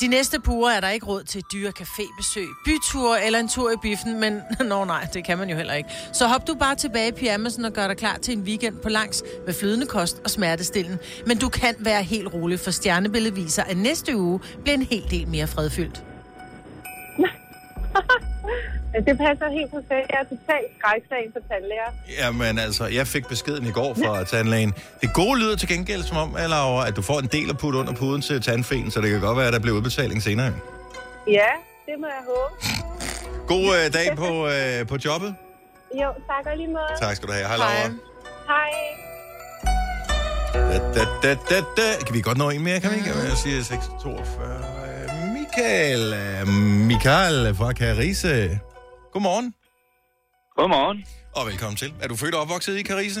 Speaker 3: De næste par uger er der ikke råd til dyre cafébesøg, byture eller en tur i biffen, men nå nej, det kan man jo heller ikke. Så hop du bare tilbage i pyjamasen og gør dig klar til en weekend på langs med flydende kost og smertestillen. Men du kan være helt rolig, for stjernebilledet viser, at næste uge bliver en hel del mere fredfyldt.
Speaker 11: Det passer helt perfekt. Jeg er totalt skrækslagen for tandlæger.
Speaker 1: Jamen altså, jeg fik beskeden i går fra tandlægen. Det gode lyder til gengæld som om, eh, Laura, at du får en del at putte under puden til tandfen, så det kan godt være, at der bliver udbetaling senere.
Speaker 11: Ja, det må jeg håbe.
Speaker 1: God øh, dag på, øh, på jobbet.
Speaker 11: Jo, tak og lige måde.
Speaker 1: Tak skal du have. Hej, Laura.
Speaker 11: Hej.
Speaker 1: Da, da, da, da, da. Kan vi godt nå en mere, kan vi ikke? Jeg siger 642. Michael, øh, Michael fra Carise. Godmorgen.
Speaker 12: Godmorgen.
Speaker 1: Og velkommen til. Er du født og opvokset i Carise?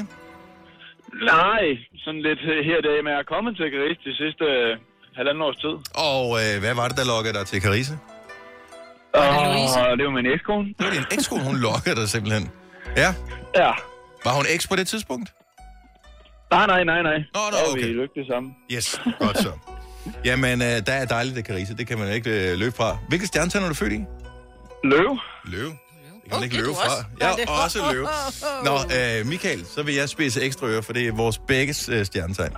Speaker 12: Nej, sådan lidt øh, her i dag, men jeg er kommet til Gris de sidste øh, halvanden års tid.
Speaker 1: Og øh, hvad var det, der lokkede dig til Carise?
Speaker 12: Og det var min ekskone.
Speaker 1: Det var din ekskone, hun lokkede dig simpelthen. Ja?
Speaker 12: Ja.
Speaker 1: Var hun eks på det tidspunkt?
Speaker 12: Nej, nej, nej, nej.
Speaker 1: Nå, nå, okay.
Speaker 12: Vi er lykkelige sammen.
Speaker 1: Yes, godt så. Jamen, øh, der er dejligt, det Carise. Det kan man ikke øh, løbe fra. Hvilket stjernetegn er du født i?
Speaker 12: Løve.
Speaker 1: Løve. Det kan man ikke
Speaker 12: det er
Speaker 1: løbe
Speaker 12: du
Speaker 1: fra.
Speaker 12: også.
Speaker 1: Jeg
Speaker 12: Nej, det-
Speaker 1: er også løve. Nå, øh, Michael, så vil jeg spise ekstra ører, for det er vores begges øh, stjernetegn.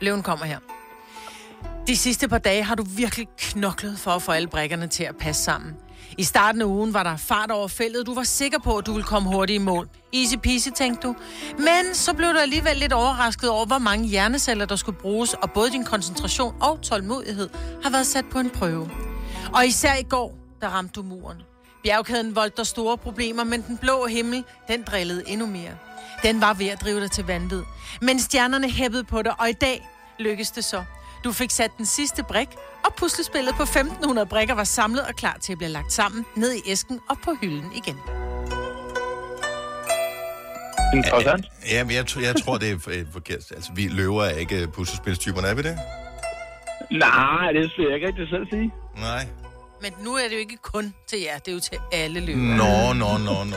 Speaker 3: Løven kommer her. De sidste par dage har du virkelig knoklet for at få alle brækkerne til at passe sammen. I starten af ugen var der fart over feltet. Du var sikker på, at du ville komme hurtigt i mål. Easy peasy, tænkte du. Men så blev du alligevel lidt overrasket over, hvor mange hjerneceller, der skulle bruges, og både din koncentration og tålmodighed har været sat på en prøve. Og især i går, der ramte du muren. Bjergkæden voldte dig store problemer, men den blå himmel, den drillede endnu mere. Den var ved at drive dig til vanvid. Men stjernerne hæppede på dig, og i dag lykkedes det så. Du fik sat den sidste brik, og puslespillet på 1500 brikker var samlet og klar til at blive lagt sammen ned i æsken og på hylden igen.
Speaker 12: Interessant.
Speaker 1: Ja, men jeg, tr- jeg tror, det er øh, forkert. Altså, vi løver er ikke øh, puslespilstyperne, er vi det?
Speaker 12: Nej, det vil jeg ikke rigtig selv sige.
Speaker 1: Nej.
Speaker 3: Men nu er det jo ikke kun til jer, det er jo til alle løber.
Speaker 1: Nå, nå, nå, nå.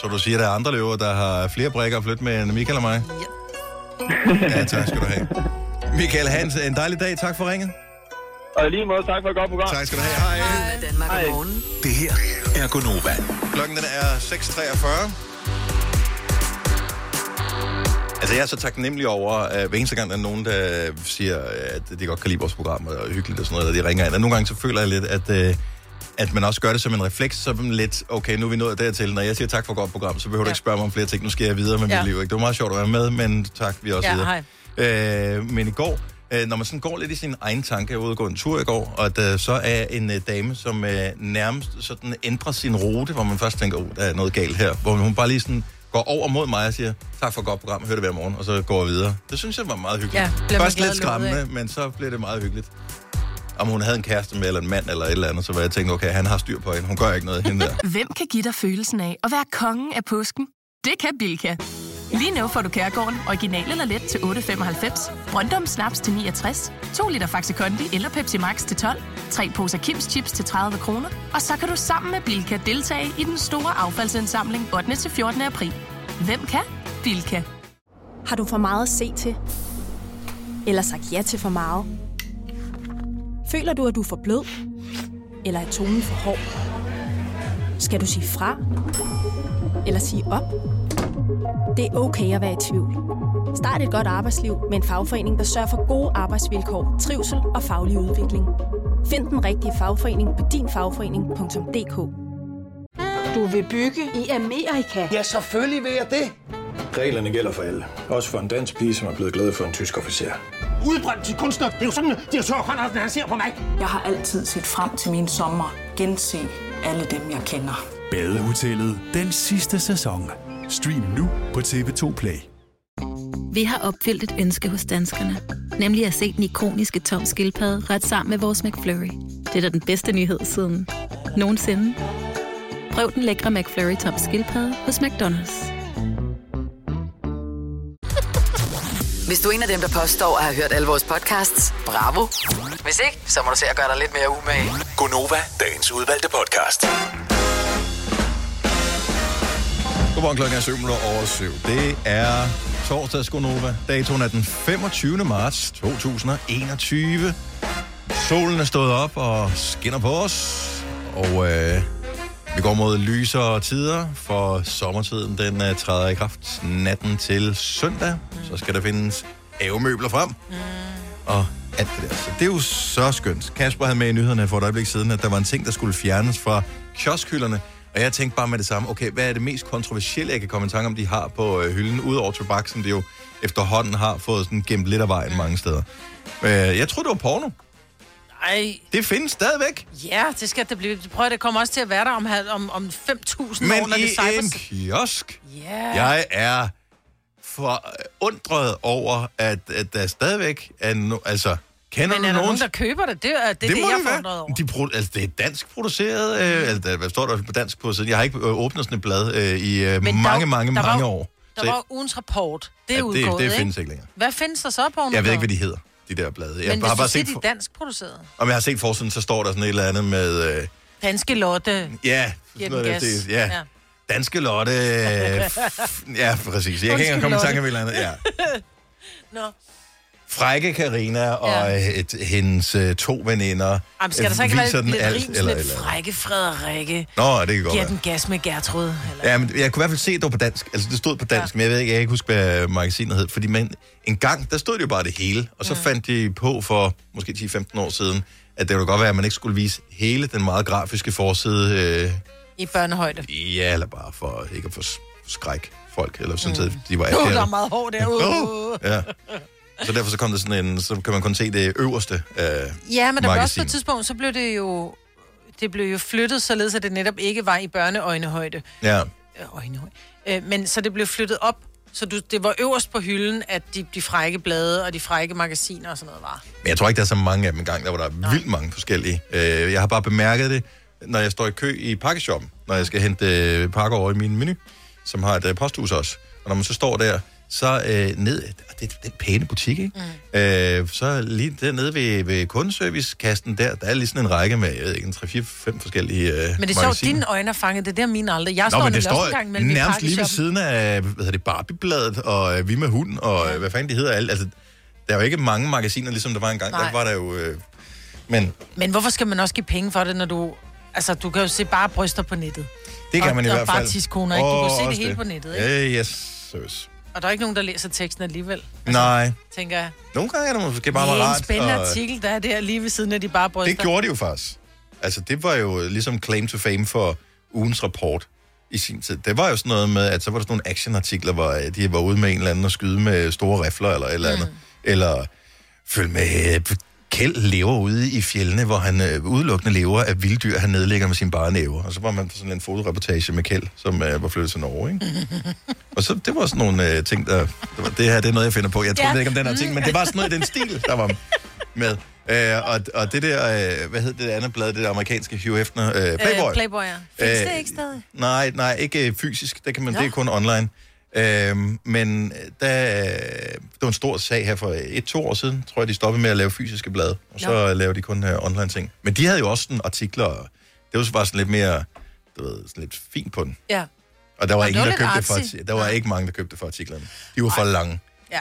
Speaker 1: Så du siger, at der er andre løver, der har flere brækker at flytte med end Michael og mig? Ja. ja, tak skal du have. Michael Hans, en dejlig dag. Tak for ringet.
Speaker 12: Og i lige måde, tak for et godt program.
Speaker 1: Tak skal du have. Hej.
Speaker 8: Hej. Danmark om morgenen.
Speaker 10: Det her er Gonova.
Speaker 1: Klokken den er 6.43. Altså, jeg er så taknemmelig over, at hver eneste gang, der er nogen, der siger, at de godt kan lide vores program, og det er hyggeligt og sådan noget, og de ringer ind. Og nogle gange så føler jeg lidt, at, øh, at man også gør det som en refleks, som lidt, okay, nu er vi nået dertil. Når jeg siger tak for et godt program, så behøver du ikke spørge mig om flere ting. Nu skal jeg videre med
Speaker 3: Ja.
Speaker 1: mit liv. Ikke? Det var meget sjovt at være med, men tak, vi er også
Speaker 3: Ja,
Speaker 1: videre. Øh, men i går, øh, når man sådan går lidt i sin egen tanke, jeg var ude og gå en tur i går, og der så er en øh, dame, som øh, nærmest sådan ændrer sin rute, hvor man først tænker, oh, der er noget galt her, hvor hun bare lige sådan går over mod mig og siger, tak for et godt program, hør det hver morgen, og så går jeg videre. Det synes jeg var meget hyggeligt.
Speaker 3: Ja, bliver man
Speaker 1: Først
Speaker 3: glad
Speaker 1: lidt
Speaker 3: og løbet af.
Speaker 1: skræmmende, men så blev det meget hyggeligt. Om hun havde en kæreste med, eller en mand, eller et eller andet, så var jeg tænkt, okay, han har styr på hende, hun gør ikke noget hende der.
Speaker 13: Hvem kan give dig følelsen af at være kongen af påsken? Det kan Bilka. Lige nu får du Kærgården original eller let til 8.95, Brøndum Snaps til 69, 2 liter Faxi Kondi eller Pepsi Max til 12, tre poser Kims Chips til 30 kroner, og så kan du sammen med Bilka deltage i den store affaldsindsamling 8. til 14. april. Hvem kan? Bilka.
Speaker 14: Har du for meget at se til? Eller sagt ja til for meget? Føler du, at du er for blød? Eller er tonen for hård? Skal du sige fra? Eller sige op? Det er okay at være i tvivl. Start et godt arbejdsliv med en fagforening, der sørger for gode arbejdsvilkår, trivsel og faglig udvikling. Find den rigtige fagforening på dinfagforening.dk
Speaker 15: Du vil bygge i Amerika? Ja, selvfølgelig vil jeg det. Reglerne gælder for alle. Også for en dansk pige, som er blevet glad for en tysk officer.
Speaker 16: Udbrændt til kunstner. Det er jo sådan, at de har tørt, han ser på mig. Jeg har altid set frem til min sommer. Gense alle dem, jeg kender.
Speaker 10: Badehotellet den sidste sæson. Stream nu på TV2 Play.
Speaker 17: Vi har opfyldt et ønske hos danskerne. Nemlig at se den ikoniske tom skildpadde ret sammen med vores McFlurry. Det er da den bedste nyhed siden nogensinde. Prøv den lækre McFlurry tom skildpadde hos McDonald's.
Speaker 8: Hvis du er en af dem, der påstår at have hørt alle vores podcasts, bravo. Hvis ikke, så må du se at gøre dig lidt mere umage.
Speaker 10: Gonova, dagens udvalgte podcast.
Speaker 1: Godmorgen, klokken er 7 over 7. Det er torsdags Gonova. Datoen er den 25. marts 2021. Solen er stået op og skinner på os. Og øh, vi går mod lysere tider, for sommertiden den øh, træder i kraft natten til søndag. Så skal der findes havemøbler frem. Og alt det der. Så det er jo så skønt. Kasper havde med i nyhederne for et øjeblik siden, at der var en ting, der skulle fjernes fra kioskhylderne. Og jeg tænkte bare med det samme, okay, hvad er det mest kontroversielle, jeg kan komme i tanke om, de har på øh, hylden, udover tobak, som de jo efterhånden har fået sådan gemt lidt af vejen mange steder. Øh, jeg tror det var porno.
Speaker 3: Ej.
Speaker 1: Det findes stadigvæk.
Speaker 3: Ja, det skal det blive. Prøv at det kommer også til at være der om, hal- om, om 5.000 år,
Speaker 1: Men
Speaker 3: når
Speaker 1: i
Speaker 3: det
Speaker 1: en
Speaker 3: cyber...
Speaker 1: kiosk.
Speaker 3: Ja.
Speaker 1: Jeg er forundret over, at, at der stadigvæk er no, altså, kender
Speaker 3: Men er
Speaker 1: du
Speaker 3: der nogen,
Speaker 1: nogen,
Speaker 3: der køber det? Det er det, det, det
Speaker 1: må
Speaker 3: jeg
Speaker 1: det være.
Speaker 3: er forundret over. Mm.
Speaker 1: De produ- altså, det er dansk produceret. Øh, altså, der- hvad står der på dansk på siden? Jeg har ikke øh, åbnet sådan et blad øh, i øh,
Speaker 3: Men
Speaker 1: mange,
Speaker 3: der-
Speaker 1: mange,
Speaker 3: der
Speaker 1: mange
Speaker 3: var-
Speaker 1: år.
Speaker 3: Der
Speaker 1: Så
Speaker 3: var ugens rapport.
Speaker 1: Ja,
Speaker 3: Det er
Speaker 1: det-
Speaker 3: udgået,
Speaker 1: det
Speaker 3: ikke?
Speaker 1: findes ikke længere.
Speaker 3: Hvad findes der så på?
Speaker 1: jeg, jeg ved ikke, hvad de hedder, de der blade. Jeg
Speaker 3: Men
Speaker 1: har
Speaker 3: hvis
Speaker 1: bare
Speaker 3: du siger,
Speaker 1: set,
Speaker 3: de er
Speaker 1: for-
Speaker 3: dansk produceret.
Speaker 1: om jeg har set forsiden, så står der sådan et eller andet med... Øh,
Speaker 3: Danske Lotte.
Speaker 1: ja, sådan
Speaker 3: Giver
Speaker 1: noget,
Speaker 3: den
Speaker 1: der,
Speaker 3: gas.
Speaker 1: det, ja.
Speaker 3: Ja.
Speaker 1: Danske Lotte... Øh, f- ja, præcis. Jeg kan ikke engang komme i tanke om et eller andet. Ja.
Speaker 3: Nå.
Speaker 1: frække Karina og ja. et, hendes øh, to veninder
Speaker 3: Jamen, skal der så ikke
Speaker 1: øh, viser
Speaker 3: være
Speaker 1: den
Speaker 3: lidt, lidt
Speaker 1: alt
Speaker 3: rim,
Speaker 1: eller
Speaker 3: lidt
Speaker 1: eller.
Speaker 3: frække Frederikke?
Speaker 1: Nå, det kan godt
Speaker 3: Giver
Speaker 1: være.
Speaker 3: den gas med Gertrud?
Speaker 1: Ja, men jeg kunne i hvert fald se, at det var på dansk. Altså, det stod på dansk, ja. men jeg ved ikke, jeg kan ikke huske, hvad øh, magasinet hed. Fordi man, en gang, der stod det jo bare det hele. Og så mm. fandt de på for måske 10-15 år siden, at det ville godt være, at man ikke skulle vise hele den meget grafiske forside. Øh,
Speaker 3: I børnehøjde.
Speaker 1: ja, eller bare for ikke at få s- skræk folk, eller sådan set, de var
Speaker 3: Åh, oh, der er
Speaker 1: akavet.
Speaker 3: meget hård derude. Oh.
Speaker 1: Ja. Så derfor så kom der sådan en, så kan man kun se det øverste øh, af
Speaker 3: Ja, men der var også på
Speaker 1: magasinet.
Speaker 3: et tidspunkt, så blev det jo, det blev jo flyttet, således at det netop ikke var i børneøjnehøjde.
Speaker 1: Ja.
Speaker 3: Øh, øjnehøjde. Øh, men så det blev flyttet op, så du, det var øverst på hylden, at de, de frække blade og de frække magasiner og sådan noget var.
Speaker 1: Men jeg tror ikke, der er så mange af dem engang. Der var der Nej. vildt mange forskellige. Øh, jeg har bare bemærket det, når jeg står i kø i pakkeshoppen, når jeg skal hente øh, pakker over i min menu, som har et øh, posthus også. Og når man så står der, så øh, ned, og det er den pæne butik, ikke? Mm. Øh, så lige dernede ved, ved kundeservicekassen der, der er lige sådan en række med, jeg ved ikke, en 3-4-5 forskellige øh,
Speaker 3: Men det er sjovt, dine øjne er fanget, det er der mine aldrig. Jeg
Speaker 1: Nå,
Speaker 3: står
Speaker 1: men
Speaker 3: nemlig
Speaker 1: det
Speaker 3: også
Speaker 1: står
Speaker 3: engang mellem i
Speaker 1: nærmest lige ved
Speaker 3: pakkeshoppen.
Speaker 1: siden af, hvad hedder det, Barbie-bladet, og øh, Vi med hunden, og øh, hvad fanden det hedder alt. Altså, der er jo ikke mange magasiner, ligesom der var engang.
Speaker 3: Nej.
Speaker 1: Der var der jo... Øh, men
Speaker 3: Men hvorfor skal man også give penge for det, når du... Altså, du kan jo se bare bryster på nettet.
Speaker 1: Det kan
Speaker 3: og,
Speaker 1: man i
Speaker 3: og
Speaker 1: hvert
Speaker 3: Og bare
Speaker 1: fald.
Speaker 3: tidskoner, ikke? Du kan
Speaker 1: Åh,
Speaker 3: jo se det
Speaker 1: også
Speaker 3: hele på nettet, ikke? Altså-
Speaker 1: Ja, yes, søs.
Speaker 3: Og der er ikke nogen, der læser teksten alligevel,
Speaker 1: Nej.
Speaker 3: tænker jeg.
Speaker 1: Nogle gange er det måske bare
Speaker 3: det
Speaker 1: meget
Speaker 3: er
Speaker 1: rart.
Speaker 3: en spændende
Speaker 1: og-
Speaker 3: artikel, der er der lige ved siden af de bare bryster.
Speaker 1: Det gjorde de jo faktisk. Altså, det var jo ligesom claim to fame for ugens rapport i sin tid. Det var jo sådan noget med, at så var der sådan nogle actionartikler, hvor øh, de var ude med en eller anden og skyde med store rifler eller et eller andet. Mm. Eller følg med, øh, Kjeld lever ude i fjellene, hvor han øh, udelukkende lever af vilddyr, han nedlægger med sine bare næver. Og så var man på sådan en fotoreportage med Kjeld, som øh, var flyttet til Norge, ikke? Og så, det var sådan nogle øh, ting, der... Det, var, det her, det er noget, jeg finder på. Jeg tror
Speaker 10: Ja.
Speaker 1: ja. ikke om den her ting, men det var sådan noget i den stil, der var med. Øh, og, og det der, øh, hvad hed det andet blad, det der amerikanske Hugh Hefner? Øh, Playboy. Øh,
Speaker 3: Playboy, ja. Findes
Speaker 1: Øh,
Speaker 3: det ikke stadig?
Speaker 1: Nej, nej, ikke øh, fysisk. Det, kan man, det er
Speaker 3: Nå.
Speaker 1: kun online. Øh, men øh, der, øh, det var en stor sag her for øh, et-to år siden, tror jeg, de stoppede med at lave fysiske blade. Og så
Speaker 10: Nå.
Speaker 1: øh, laver de kun øh, online ting. Men de havde jo også sådan artikler, og det var så bare sådan lidt mere, du ved, sådan lidt fint på den.
Speaker 3: Ja.
Speaker 1: Og der var,
Speaker 3: Og
Speaker 1: ingen,
Speaker 3: det var
Speaker 1: der
Speaker 3: lidt
Speaker 1: købte det for,
Speaker 3: artsy.
Speaker 1: arti- der var ikke mange, der købte det for artiklerne. De var for lange.
Speaker 3: Ja.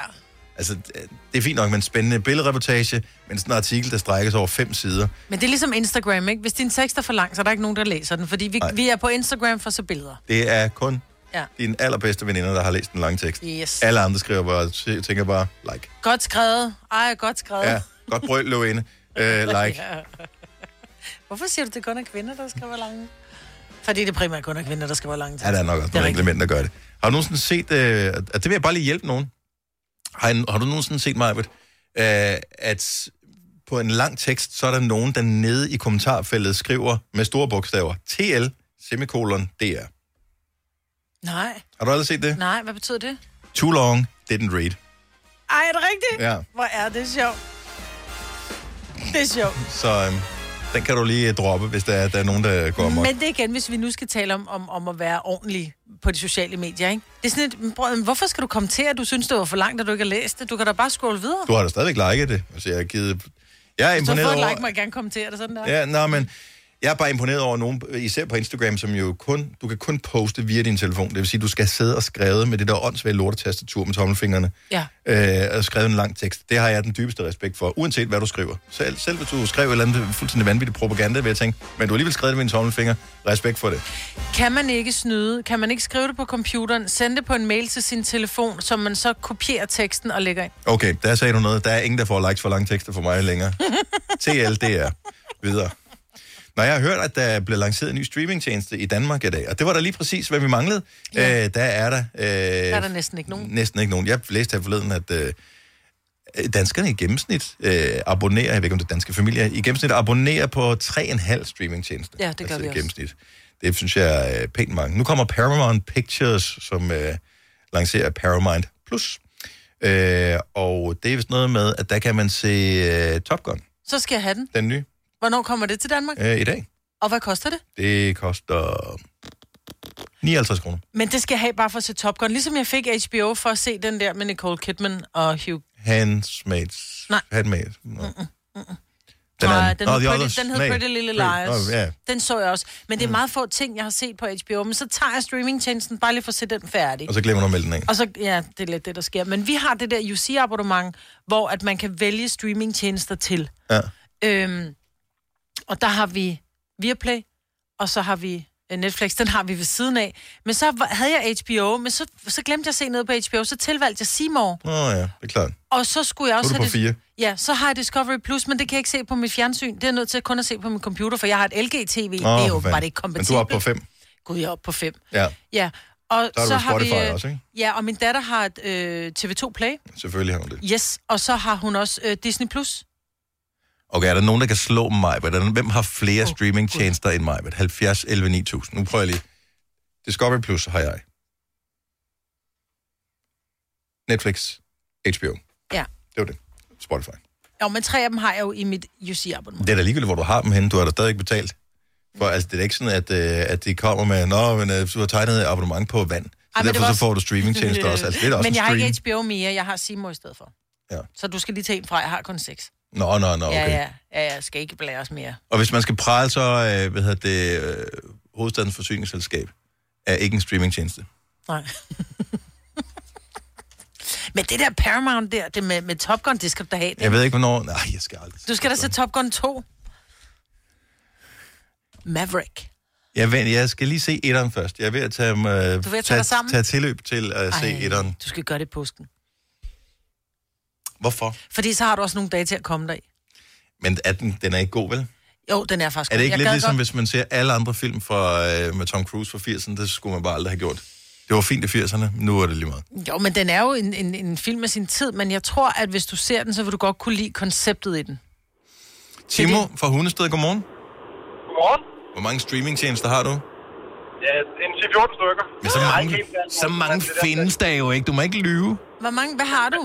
Speaker 1: Altså, det- det er fint nok med en spændende billedreportage, men sådan en artikel, der strækkes over fem sider.
Speaker 3: Men det er ligesom Instagram, ikke? Hvis din tekst er for lang, så er der ikke nogen, der læser den. Fordi vi,
Speaker 1: Nej.
Speaker 3: vi er på Instagram for så billeder.
Speaker 1: Det er kun
Speaker 3: Ja.
Speaker 1: dine allerbedste veninder, der har læst den lange tekst.
Speaker 3: Yes.
Speaker 1: Alle andre skriver bare, t- tænker bare, like.
Speaker 3: Godt skrevet. Ej, godt skrevet.
Speaker 1: Ja, godt brøl, Lovene. Uh, like.
Speaker 3: Ja. Hvorfor siger du, det kun er kvinder, der skriver lange? Fordi det primært kun er kvinder, der skal være lang tid.
Speaker 1: Ja, der er nok også nogle enkelte mænd, der gør det. Har du nogensinde set, øh, at det vil jeg bare lige hjælpe nogen. Har, har du nogensinde set, mig, øh, at på en lang tekst, så er der nogen, der nede i kommentarfeltet skriver med store bogstaver, TL, semikolon, DR.
Speaker 3: Nej.
Speaker 1: Har du aldrig set det?
Speaker 3: Nej, hvad betyder det?
Speaker 1: Too long, didn't read.
Speaker 3: Ej, er det rigtigt?
Speaker 1: Ja.
Speaker 3: Hvor er det sjovt. Det er sjovt.
Speaker 1: Så øhm, den kan du lige øh, droppe, hvis der er, der er nogen, der går amok.
Speaker 3: Men det er igen, hvis vi nu skal tale om, om, om at være ordentlig på de sociale medier, ikke? Det er sådan et, "Men bror, hvorfor skal du komme til, at du synes, det var for langt, at du ikke har læst det? Du kan da bare scrolle videre.
Speaker 1: Du har da stadigvæk liket det. Altså, jeg, har givet... jeg er
Speaker 3: Hvis du har
Speaker 1: imponeret
Speaker 3: fået et
Speaker 1: over...
Speaker 3: like, må jeg gerne kommentere det sådan der.
Speaker 1: Ja, nej, men jeg er bare imponeret over nogen, især på Instagram, som jo kun, du kan kun poste via din telefon. Det vil sige, du skal sidde og skrive med det der åndssvage lortetastatur med tommelfingrene,
Speaker 3: Ja.
Speaker 1: øh, og skrive en lang tekst. Det har jeg den dybeste respekt for, uanset hvad du skriver. Selv, selv hvis du skrev et eller andet fuldstændig vanvittigt propaganda, vil jeg tænke, men du har alligevel skrevet det med en tommelfinger. Respekt for det.
Speaker 3: Kan man ikke snyde? Kan man ikke skrive det på computeren? Sende det på en mail til sin telefon, som man så kopierer teksten og lægger ind.
Speaker 1: Okay, der sagde du noget. Der er ingen, der får likes for lange tekster for mig længere. TLDR. Videre. Når jeg har hørt, at der blev lanceret en ny streamingtjeneste i Danmark i dag, og det var da lige præcis, hvad vi manglede, ja. øh, der er der, øh,
Speaker 3: Der er der næsten ikke nogen.
Speaker 1: næsten ikke nogen. Jeg læste her forleden, at øh, danskerne i gennemsnit øh, abonnerer, jeg ved ikke om det er danske familier, i gennemsnit abonnerer på 3,5 streamingtjenester.
Speaker 3: Ja, det gør vi
Speaker 1: Altså i
Speaker 3: også.
Speaker 1: gennemsnit. Det synes jeg er øh, pænt mange. Nu kommer Paramount Pictures, som øh, lancerer Paramount Plus. Øh, og det er vist noget med, at der kan man se øh, Top Gun,
Speaker 3: Så skal jeg have den.
Speaker 1: den nye,
Speaker 3: Hvornår kommer det til Danmark?
Speaker 1: øh, i dag.
Speaker 3: Og hvad koster det?
Speaker 1: Det koster 59 kroner.
Speaker 3: Men det skal jeg have bare for at se Top Gun. Ligesom jeg fik HBO for at se den der med Nicole Kidman og Hugh.
Speaker 1: Handsmaids.
Speaker 3: Nej.
Speaker 1: Handmaids. No.
Speaker 3: Den,
Speaker 1: anden.
Speaker 3: Nej, den,
Speaker 1: Nå,
Speaker 3: hed
Speaker 1: The
Speaker 3: pretty,
Speaker 1: Others.
Speaker 3: den hed
Speaker 1: Nej.
Speaker 3: Pretty Little
Speaker 1: Pretty-
Speaker 3: Liars.
Speaker 1: Nå, ja. Mm.
Speaker 3: Den så jeg også. Men det er meget få ting, jeg har set på HBO. Men så tager jeg streamingtjenesten bare lige for at se den færdig.
Speaker 1: Og så glemmer du at melde den af.
Speaker 3: Og så, ja, det er lidt det, der sker. Men vi har det der UC-abonnement, hvor at man kan vælge streamingtjenester til.
Speaker 1: Ja.
Speaker 3: Øhm, og der har vi Viaplay, og så har vi øh, Netflix, den har vi ved siden af. Men så var- havde jeg HBO, men så, så glemte jeg at se noget på HBO, så tilvalgte jeg Seymour.
Speaker 1: Nå ja, det er klart.
Speaker 3: Og så skulle jeg
Speaker 1: Så er
Speaker 3: også
Speaker 1: du på
Speaker 3: have
Speaker 1: fire.
Speaker 3: det, Ja, så har jeg Discovery Plus, men det kan jeg ikke se på mit fjernsyn. Det er jeg nødt til kun at se på min computer, for jeg har et LG-TV. det
Speaker 1: for
Speaker 3: er jo
Speaker 1: fanden.
Speaker 3: bare
Speaker 1: Men
Speaker 3: ikke kompatibelt.
Speaker 1: du er oppe på fem.
Speaker 3: Gud, jeg er oppe på fem.
Speaker 1: Ja,
Speaker 3: Ja, og
Speaker 1: Så har
Speaker 3: så,
Speaker 1: du
Speaker 3: har vi...
Speaker 1: Spotify
Speaker 3: øh,
Speaker 1: også, ikke?
Speaker 3: Ja, og min datter har øh, TV2 Play.
Speaker 1: selvfølgelig har hun det.
Speaker 3: Yes, og så har hun også øh, Disney+. Plus.
Speaker 1: Okay, er der nogen, der kan slå mig? Er der- Hvem har flere oh, streamingtjenester end mig? 70, 11, 9000. Nu prøver jeg lige. Discovery Plus har jeg. Netflix, HBO.
Speaker 3: Ja.
Speaker 1: Det var det. Spotify.
Speaker 3: Jo, men tre af dem har jeg jo i mit UC-abonnement.
Speaker 1: Det er da ligegyldigt, hvor du har dem henne. Du har da stadig betalt. For altså, det er da ikke sådan, at, øh, at de kommer med, Nå, men øh, du har tegnet et abonnement på vand. Så
Speaker 3: Ej, men det
Speaker 1: derfor
Speaker 3: var
Speaker 1: så
Speaker 3: også- øh,
Speaker 1: får du streamingtjenester også. Altså, det er da også
Speaker 3: men
Speaker 1: en
Speaker 3: jeg har
Speaker 1: stream.
Speaker 3: ikke HBO mere, jeg har Simo i stedet for.
Speaker 1: Ja.
Speaker 3: Så du skal lige tage en fra, jeg har kun seks.
Speaker 1: Nå, nå, nå, okay.
Speaker 3: Ja, ja, ja, jeg skal ikke blære os mere.
Speaker 1: Og hvis man skal prale, så øh, hvad hedder det, øh, hovedstadens forsyningsselskab er ikke en streamingtjeneste.
Speaker 3: Nej. men det der Paramount der, det med, med Top Gun, det skal du da have. Det.
Speaker 1: Jeg ved ikke, hvornår... Nej, jeg skal aldrig.
Speaker 3: Du skal da se Top Gun 2. Maverick.
Speaker 1: Jeg, ved, jeg skal lige se etteren først. Jeg er ved at tage, øh,
Speaker 3: at tage
Speaker 1: tage,
Speaker 3: dig sammen?
Speaker 1: tage tilløb til at Ej. se etteren.
Speaker 3: Du skal gøre det i påsken.
Speaker 1: Hvorfor?
Speaker 3: Fordi så har du også nogle dage til at komme dig
Speaker 1: Men er den, den er ikke god, vel?
Speaker 3: Jo, den er faktisk
Speaker 1: Er det
Speaker 3: god.
Speaker 1: ikke
Speaker 3: Jeg
Speaker 1: lidt
Speaker 3: gad
Speaker 1: ligesom, godt. hvis man ser alle andre film fra, øh, med Tom Cruise fra 80'erne? Det skulle man bare aldrig have gjort. Det var fint i 80'erne, nu er det lige meget.
Speaker 3: Jo, men den er jo en, en, en film af sin tid, men jeg tror, at hvis du ser den, så vil du godt kunne lide konceptet i den.
Speaker 1: Timo fra Hundested, godmorgen.
Speaker 12: Godmorgen.
Speaker 1: Hvor mange streamingtjenester har du?
Speaker 12: Ja, en 10-14 stykker.
Speaker 1: Men så mange, så mange findes der jo ikke. Du må ikke lyve.
Speaker 3: Hvor mange, hvad har du?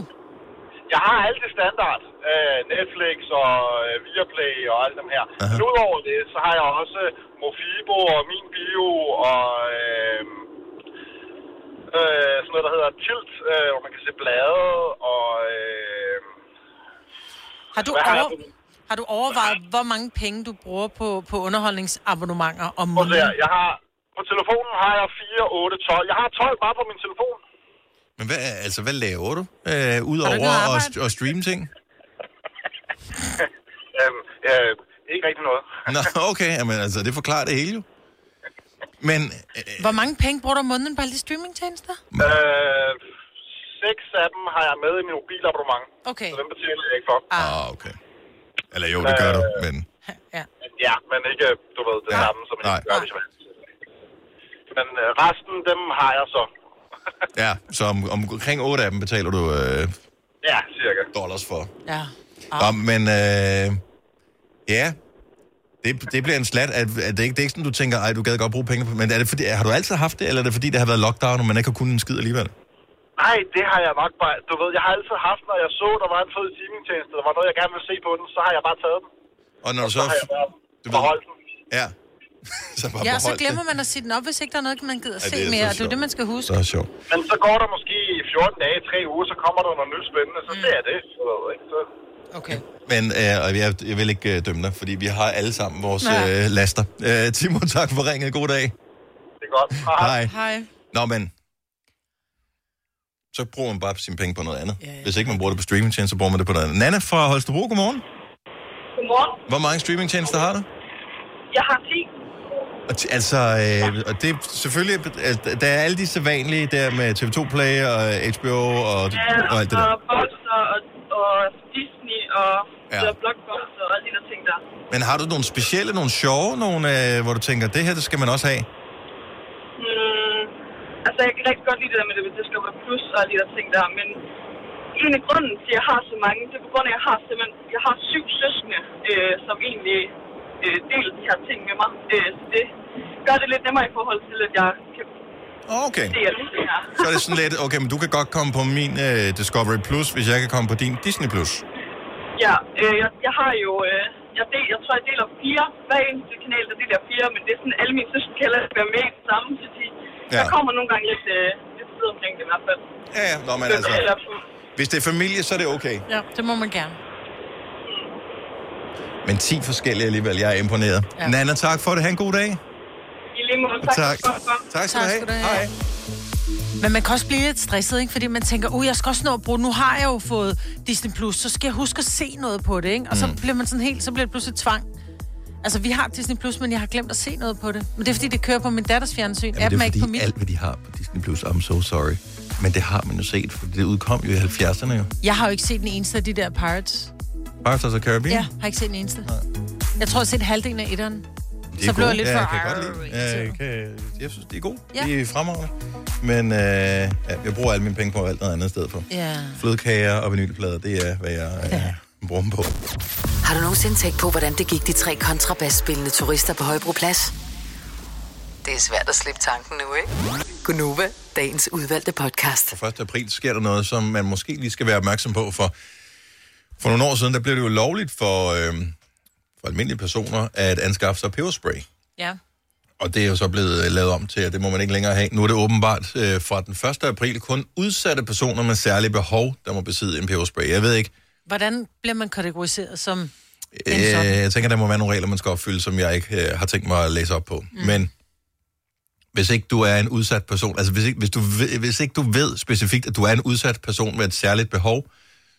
Speaker 12: Jeg har alt det standard. Øh, Netflix og øh, Viaplay og alt dem her. Uh-huh. Men udover det, så har jeg også Mofibo og Min Bio og øh, øh, sådan noget, der hedder Tilt, øh, hvor man kan se blade og... Øh,
Speaker 3: Har du,
Speaker 12: Hvad har jeg
Speaker 3: over, har du overvejet, hvor mange penge du bruger på, på underholdningsabonnementer om
Speaker 12: prøv at se
Speaker 3: måneden?
Speaker 12: her. Jeg har... På telefonen har jeg 4, 8, 12. Jeg har 12 bare på min telefon.
Speaker 1: Men hvad, altså, hvad laver du? Øh,
Speaker 12: Har du ikke noget
Speaker 1: Udover at,
Speaker 12: arbejde?
Speaker 1: at streame ting?
Speaker 12: Øhm, øh, ikke rigtig noget.
Speaker 1: Nå, okay. Jamen, altså, det forklarer det hele jo. Men øh,
Speaker 3: Hvor mange penge bruger du om måneden på alle de streamingtjenester?
Speaker 12: Øh, seks af dem har jeg med i min mobilabonnement.
Speaker 3: Okay.
Speaker 12: Så dem betaler jeg ikke for.
Speaker 1: Ah, okay.
Speaker 12: Øh,
Speaker 1: Eller jo, det gør du, men...
Speaker 3: Ja.
Speaker 12: Ja, men ikke, øh, du ved, det samme, som jeg
Speaker 1: Nej.
Speaker 12: gør, hvis jeg Men øh, resten, dem har jeg så.
Speaker 1: Ja, så om, omkring 8 af dem betaler du øh,
Speaker 12: Ja, cirka.
Speaker 1: dollars for.
Speaker 3: Ja.
Speaker 12: Ah.
Speaker 1: Nå, men øh, ja, det, det bliver en slat. Er, er det, ikke, det er ikke sådan, du tænker, ej, du gad godt bruge penge på men er det fordi, har du altid haft det, eller er det fordi, det har været lockdown, og man ikke har kunnet en skid alligevel?
Speaker 12: Nej, det har jeg nok bare... Du ved, jeg har altid haft, når jeg så, der var en fed timetjeneste, der var noget, jeg gerne ville se på den, så har jeg bare taget den.
Speaker 1: Og når du så...
Speaker 12: Så har jeg bare
Speaker 1: Du
Speaker 12: forholdt den.
Speaker 1: Ja. så bare
Speaker 3: Ja, og så
Speaker 1: behold
Speaker 3: glemmer
Speaker 1: det.
Speaker 3: man at sige den op, hvis ikke der er noget, man gider at
Speaker 1: Ja,
Speaker 3: se
Speaker 1: det er så
Speaker 3: mere. Det er jo
Speaker 1: sjovt.
Speaker 3: det, man skal huske.
Speaker 1: Så er det sjovt.
Speaker 12: Men så går der måske 14 dage, 3 uger, så kommer der noget nyt spændende, så det er det. Så, ikke? Så,
Speaker 3: Okay.
Speaker 1: Men øh, og jeg, jeg vil ikke øh, dømme dig, fordi vi har alle sammen vores
Speaker 12: Nej.
Speaker 1: øh, laster. Øh, Timo, tak for ringet. God dag.
Speaker 12: det er godt.
Speaker 1: Hej.
Speaker 3: Hej.
Speaker 1: Nå, men så bruger man bare sine penge på noget andet. Hvis ikke man bruger det på streamingtjenester, bruger man det på noget andet. Nana fra Holstebro, godmorgen.
Speaker 11: Godmorgen.
Speaker 1: Hvor mange streamingtjenester har du?
Speaker 11: Jeg har 10.
Speaker 1: Og t- altså, øh, og det er selvfølgelig, altså, der er alle de sædvanlige der med TV2 Play og HBO og, og alt det der.
Speaker 11: Og Boxer og, og Disney og
Speaker 1: Ja.
Speaker 11: ja. Blockbuster og alle de der ting der.
Speaker 1: Men har du nogle specielle, nogle sjove, nogle, øh, hvor du tænker, det her, det skal man også have?
Speaker 11: Mm, altså, jeg kan rigtig godt lide det der med det, hvis det skal være plus og alle de der ting der, men en af grunden til, at jeg har så mange, det er på grund af, at jeg har simpelthen, jeg har syv søskende, øh, som egentlig øh, deler de her ting med mig. Øh, så det gør det lidt nemmere i forhold til, at jeg kan
Speaker 1: Okay.
Speaker 11: dele de ting her.
Speaker 1: Så er det sådan lidt, okay, men du kan godt komme på min øh, Discovery Plus, hvis jeg kan komme på din Disney Plus.
Speaker 11: Ja, øh, jeg, jeg har jo... Øh, jeg, del, jeg tror, jeg deler fire. Hver eneste kanal, der deler fire, men det er sådan, alle mine søskende kan heller ikke være med i det samme, så de,
Speaker 1: Ja.
Speaker 11: ja. der kommer nogle gange lidt, øh, lidt tid omkring det i hvert fald.
Speaker 1: Ja, ja. Nå, men
Speaker 11: Så-
Speaker 1: altså,
Speaker 11: eller-
Speaker 1: hvis det er familie, så er det okay.
Speaker 3: Ja, det må man gerne.
Speaker 1: Men 10 forskellige alligevel, jeg er imponeret. Ja. Nana, tak for det. Ha' en god dag.
Speaker 11: I lige måde,
Speaker 1: Tak.
Speaker 11: tak.
Speaker 1: Tak skal du have.
Speaker 3: Hej. Men man kan også blive lidt stresset, ikke? Fordi man tænker, uh, jeg skal også nå at bruge, nu har jeg jo fået Disney+, Plus, så skal jeg huske at se noget på det, ikke? Og så
Speaker 18: Mm.
Speaker 3: bliver man sådan helt, så bliver det pludselig tvang. Altså, vi har Disney+, Plus, men jeg har glemt at se noget på det. Men det er, fordi det kører på min datters fjernsyn.
Speaker 1: Jamen,
Speaker 3: Appen
Speaker 1: det
Speaker 3: er
Speaker 1: er
Speaker 3: ikke på
Speaker 1: fordi
Speaker 3: min.
Speaker 1: alt, hvad de har på Disney Plus, I'm so sorry. Men det har man jo set, for det udkom jo i 70'erne jo.
Speaker 3: Jeg har jo ikke set den eneste af de der Pirates.
Speaker 1: Pirates of the Caribbean.
Speaker 3: Ja, har ikke set den eneste. Jeg tror, jeg har set halvdelen af etteren.
Speaker 1: De er
Speaker 3: Så blev
Speaker 1: gode.
Speaker 3: jeg lidt
Speaker 1: ja,
Speaker 3: for...
Speaker 1: jeg kan godt lide. Ja, jeg, kan, jeg synes, de er gode.
Speaker 3: Ja.
Speaker 1: Ja. De er fremragende. Men øh, ja, jeg bruger alle mine penge på alt noget andet sted for.
Speaker 8: Ja.
Speaker 1: Flødekager og vinylplader, det er, hvad jeg øh, bruger dem på.
Speaker 8: Har du nogensinde tænkt på, hvordan det gik de tre kontrabasspillende turister på Højbroplads? Det er svært at slippe tanken nu, ikke? Gunova, dagens udvalgte podcast.
Speaker 1: Fra 1. april sker der noget, som man måske lige skal være opmærksom på, for for nogle år siden, der blev det jo lovligt for, øh, for almindelige personer at anskaffe sig peberspray.
Speaker 3: Ja.
Speaker 1: Og det er jo så blevet øh, lavet om til, at det må man ikke længere have. Nu er det åbenbart øh, fra den 1. april kun udsatte personer med særlige behov, der må besidde en peberspray. Jeg ved ikke,
Speaker 3: Hvordan bliver man kategoriseret som...
Speaker 1: øh, jeg tænker, der må være nogle regler, man skal opfylde, som jeg ikke øh, har tænkt mig at læse op på. Mm. Men hvis ikke du er en udsat person, altså hvis ikke, hvis, du ved, hvis ikke du ved specifikt, at du er en udsat person med et særligt behov,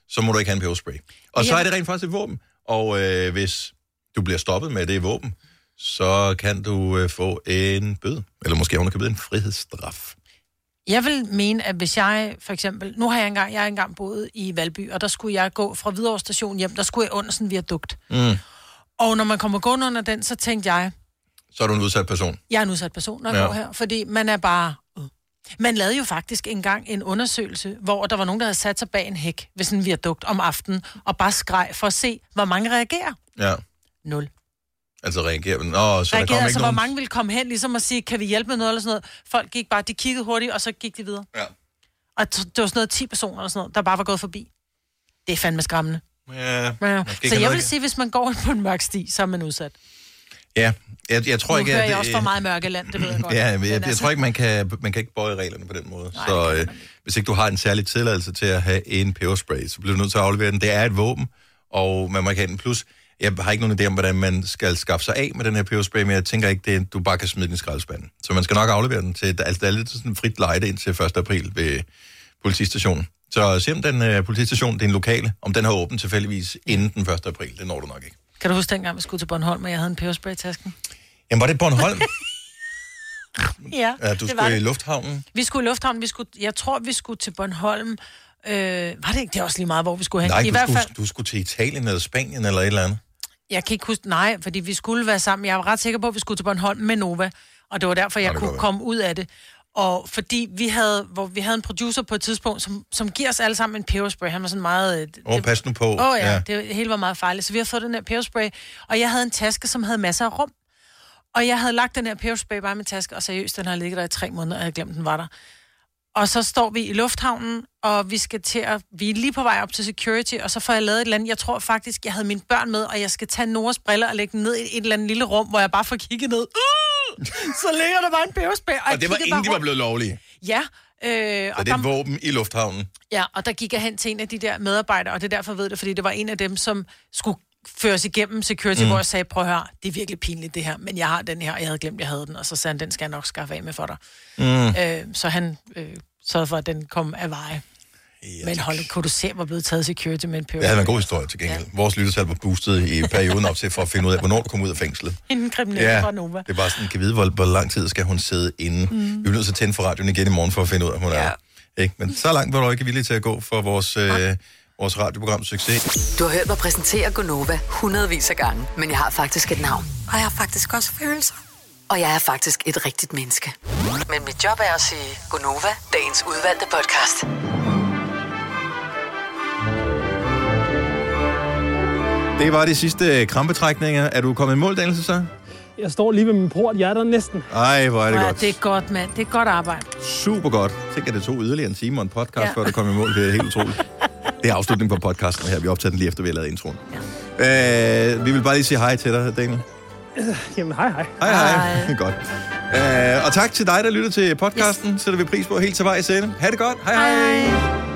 Speaker 1: så må du ikke have en peberspray. Og så
Speaker 10: Ja.
Speaker 1: er det rent faktisk et våben. Og øh, hvis du bliver stoppet med det våben, så kan du øh, få en bøde. Eller måske ovenikøbet en frihedsstraf.
Speaker 3: Jeg vil mene, at hvis jeg for eksempel... Nu har jeg engang, jeg har engang boet i Valby, og der skulle jeg gå fra Hvidovre station hjem, der skulle jeg under sådan en viadukt.
Speaker 1: Mm.
Speaker 3: Og når man kommer gående under den, så tænkte jeg,
Speaker 1: Så er du en udsat person.
Speaker 3: jeg er en udsat person, når jeg
Speaker 1: Ja.
Speaker 3: ja. går her, fordi man er bare... øh. Man lavede jo faktisk engang en undersøgelse, hvor der var nogen, der havde sat sig bag en hæk ved sådan en viadukt om aftenen, og bare skreg for at se, hvor mange reagerer.
Speaker 1: Ja.
Speaker 3: Nul.
Speaker 1: Altså reagerer man. Nå, så
Speaker 3: Så
Speaker 1: der kommer
Speaker 3: reagerede,
Speaker 1: ikke
Speaker 3: altså, hvor
Speaker 1: nogen...
Speaker 3: mange ville komme hen, ligesom at sige, kan vi hjælpe med noget eller sådan noget. Folk gik bare, de kiggede hurtigt, og så gik de videre.
Speaker 1: Ja.
Speaker 3: Og t- det var sådan noget 10 personer eller sådan noget, der bare var gået forbi. Det er fandme skræmmende.
Speaker 1: Ja,
Speaker 3: Ja.
Speaker 1: måske
Speaker 3: Så
Speaker 1: kan
Speaker 3: jeg
Speaker 1: man
Speaker 3: vil
Speaker 1: ikke-
Speaker 3: sige, hvis man går på en mørk sti, så er man udsat.
Speaker 1: Ja, jeg, jeg tror
Speaker 3: nu
Speaker 1: ikke,
Speaker 3: hører
Speaker 1: at-
Speaker 3: jeg også for meget mørke land, det ved jeg godt.
Speaker 1: Ja, men
Speaker 3: Men
Speaker 1: jeg, jeg
Speaker 3: altså-
Speaker 1: tror ikke, man kan, man kan ikke bøje reglerne på den måde. Nej, så øh, hvis ikke du har en særlig tilladelse til at have en peberspray, så bliver du nødt til at aflevere den. Det er et våben, og man må ikke have den. Plus, jeg har ikke nogen idé om, hvordan man skal skaffe sig af med den her peberspray, men jeg tænker ikke, det, du bare kan smide den i skraldespanden. Så man skal nok aflevere den til... Altså, der er lidt sådan frit lejde indtil 1. april ved politistationen. Så se om den øh, politistation, det er en lokale, om den har åbent tilfældigvis inden den 1. april. Det når du nok ikke.
Speaker 3: Kan du huske dengang, vi skulle til Bornholm, og jeg havde en peberspray i tasken?
Speaker 1: Jamen, var det Bornholm?
Speaker 3: Ja,
Speaker 1: ja, du
Speaker 3: det var
Speaker 1: skulle i
Speaker 3: det.
Speaker 1: lufthavnen?
Speaker 3: Vi skulle i lufthavnen, vi skulle, jeg tror, vi skulle til Bornholm. Øh, var det ikke det er også lige meget, hvor vi skulle hen?
Speaker 1: Nej,
Speaker 3: I
Speaker 1: du,
Speaker 3: hvert
Speaker 1: skulle,
Speaker 3: fald,
Speaker 1: du skulle til Italien eller Spanien eller et eller andet.
Speaker 3: jeg kan ikke huske, nej, fordi vi skulle være sammen. Jeg var ret sikker på, at vi skulle til Bornholm med Nova. Og det var derfor, jeg kunne komme ud af det. Og fordi vi havde, hvor vi havde en producer på et tidspunkt, som, som giver os alle sammen en peberspray. Han var sådan meget... øh, det-
Speaker 1: Åh, oh, pas nu på.
Speaker 3: Åh oh, ja, ja. det hele var meget farligt. Så vi har fået den her peberspray, og jeg havde en taske, som havde masser af rum. Og jeg havde lagt den her peberspray bare i min taske, og seriøst, den har ligget der i tre måneder, og jeg havde glemt, den var der. Og så står vi i lufthavnen, og vi skal til at, vi er lige på vej op til security, og så får jeg lavet et eller andet. Jeg tror faktisk, jeg havde mine børn med, og jeg skal tage Noras briller og lægge dem ned i et eller andet lille rum, hvor jeg bare får kigget ned. Uh! Så ligger der bare en peberspray. Og,
Speaker 1: Og det var inden de var blevet lovlige.
Speaker 3: Ja, øh,
Speaker 1: Så det er et våben i lufthavnen.
Speaker 3: Ja, og der gik jeg hen til en af de der medarbejdere, og det er derfor, jeg ved det, fordi det var en af dem, som skulle føres igennem security,
Speaker 1: Mm.
Speaker 3: mm. hvor jeg sagde, prøv at høre, det er virkelig pinligt det her, men jeg har den her, og jeg havde glemt, jeg havde den, og så sagde han, den skal jeg nok skaffe af med for dig.
Speaker 1: Mm.
Speaker 3: Øh, så han øh, sørgede for, at den kom af veje. Ja, men hold, kunne du se, hvor blevet taget security med en peber?
Speaker 1: Det havde været en god historie til gengæld. Ja. Vores lyttertal var boostet i perioden op til for at finde ud af, hvornår du kom ud af fængslet.
Speaker 3: Inden kriminelle ja. fra Nova.
Speaker 1: det var sådan, kan vide, hvor, hvor lang tid skal hun sidde inde. Mm.
Speaker 3: Mm.
Speaker 1: Vi er nødt til at tænde for radioen igen i morgen for at finde ud af, hvor hun ja. er. Ikke? Men så langt var du ikke villig til at gå for vores, øh, vores radioprograms succes.
Speaker 8: Du har hørt mig præsentere Gonova hundredvis af gange, men jeg har faktisk et navn.
Speaker 18: Og jeg har faktisk også følelser.
Speaker 8: Og jeg er faktisk et rigtigt menneske. Men mit job er at sige Gonova, dagens udvalgte podcast.
Speaker 1: Det var de sidste krampetrækninger. Er du kommet i mål, Daniel, så?
Speaker 2: Jeg står lige ved min port. Jeg er der næsten.
Speaker 1: Ej, hvor er det
Speaker 3: ja,
Speaker 1: godt.
Speaker 3: det er godt, mand. Det er godt arbejde.
Speaker 1: Super godt. Tænk, at det tog yderligere en time og en podcast, ja.
Speaker 3: Ja.
Speaker 1: før du kom i mål. Det er helt utroligt. Det er afslutningen på podcasten her. Vi optager den lige efter, vi har lavet introen. Ja. Øh, vi vil bare lige sige hej til dig, Daniel.
Speaker 2: Jamen, hej hej.
Speaker 1: Hej, hej. hej. Godt. Øh, og tak til dig, der lytter til podcasten. Yes. Sætter vi pris på helt til vej i scene. Ha' det godt. Hej, hej. hej.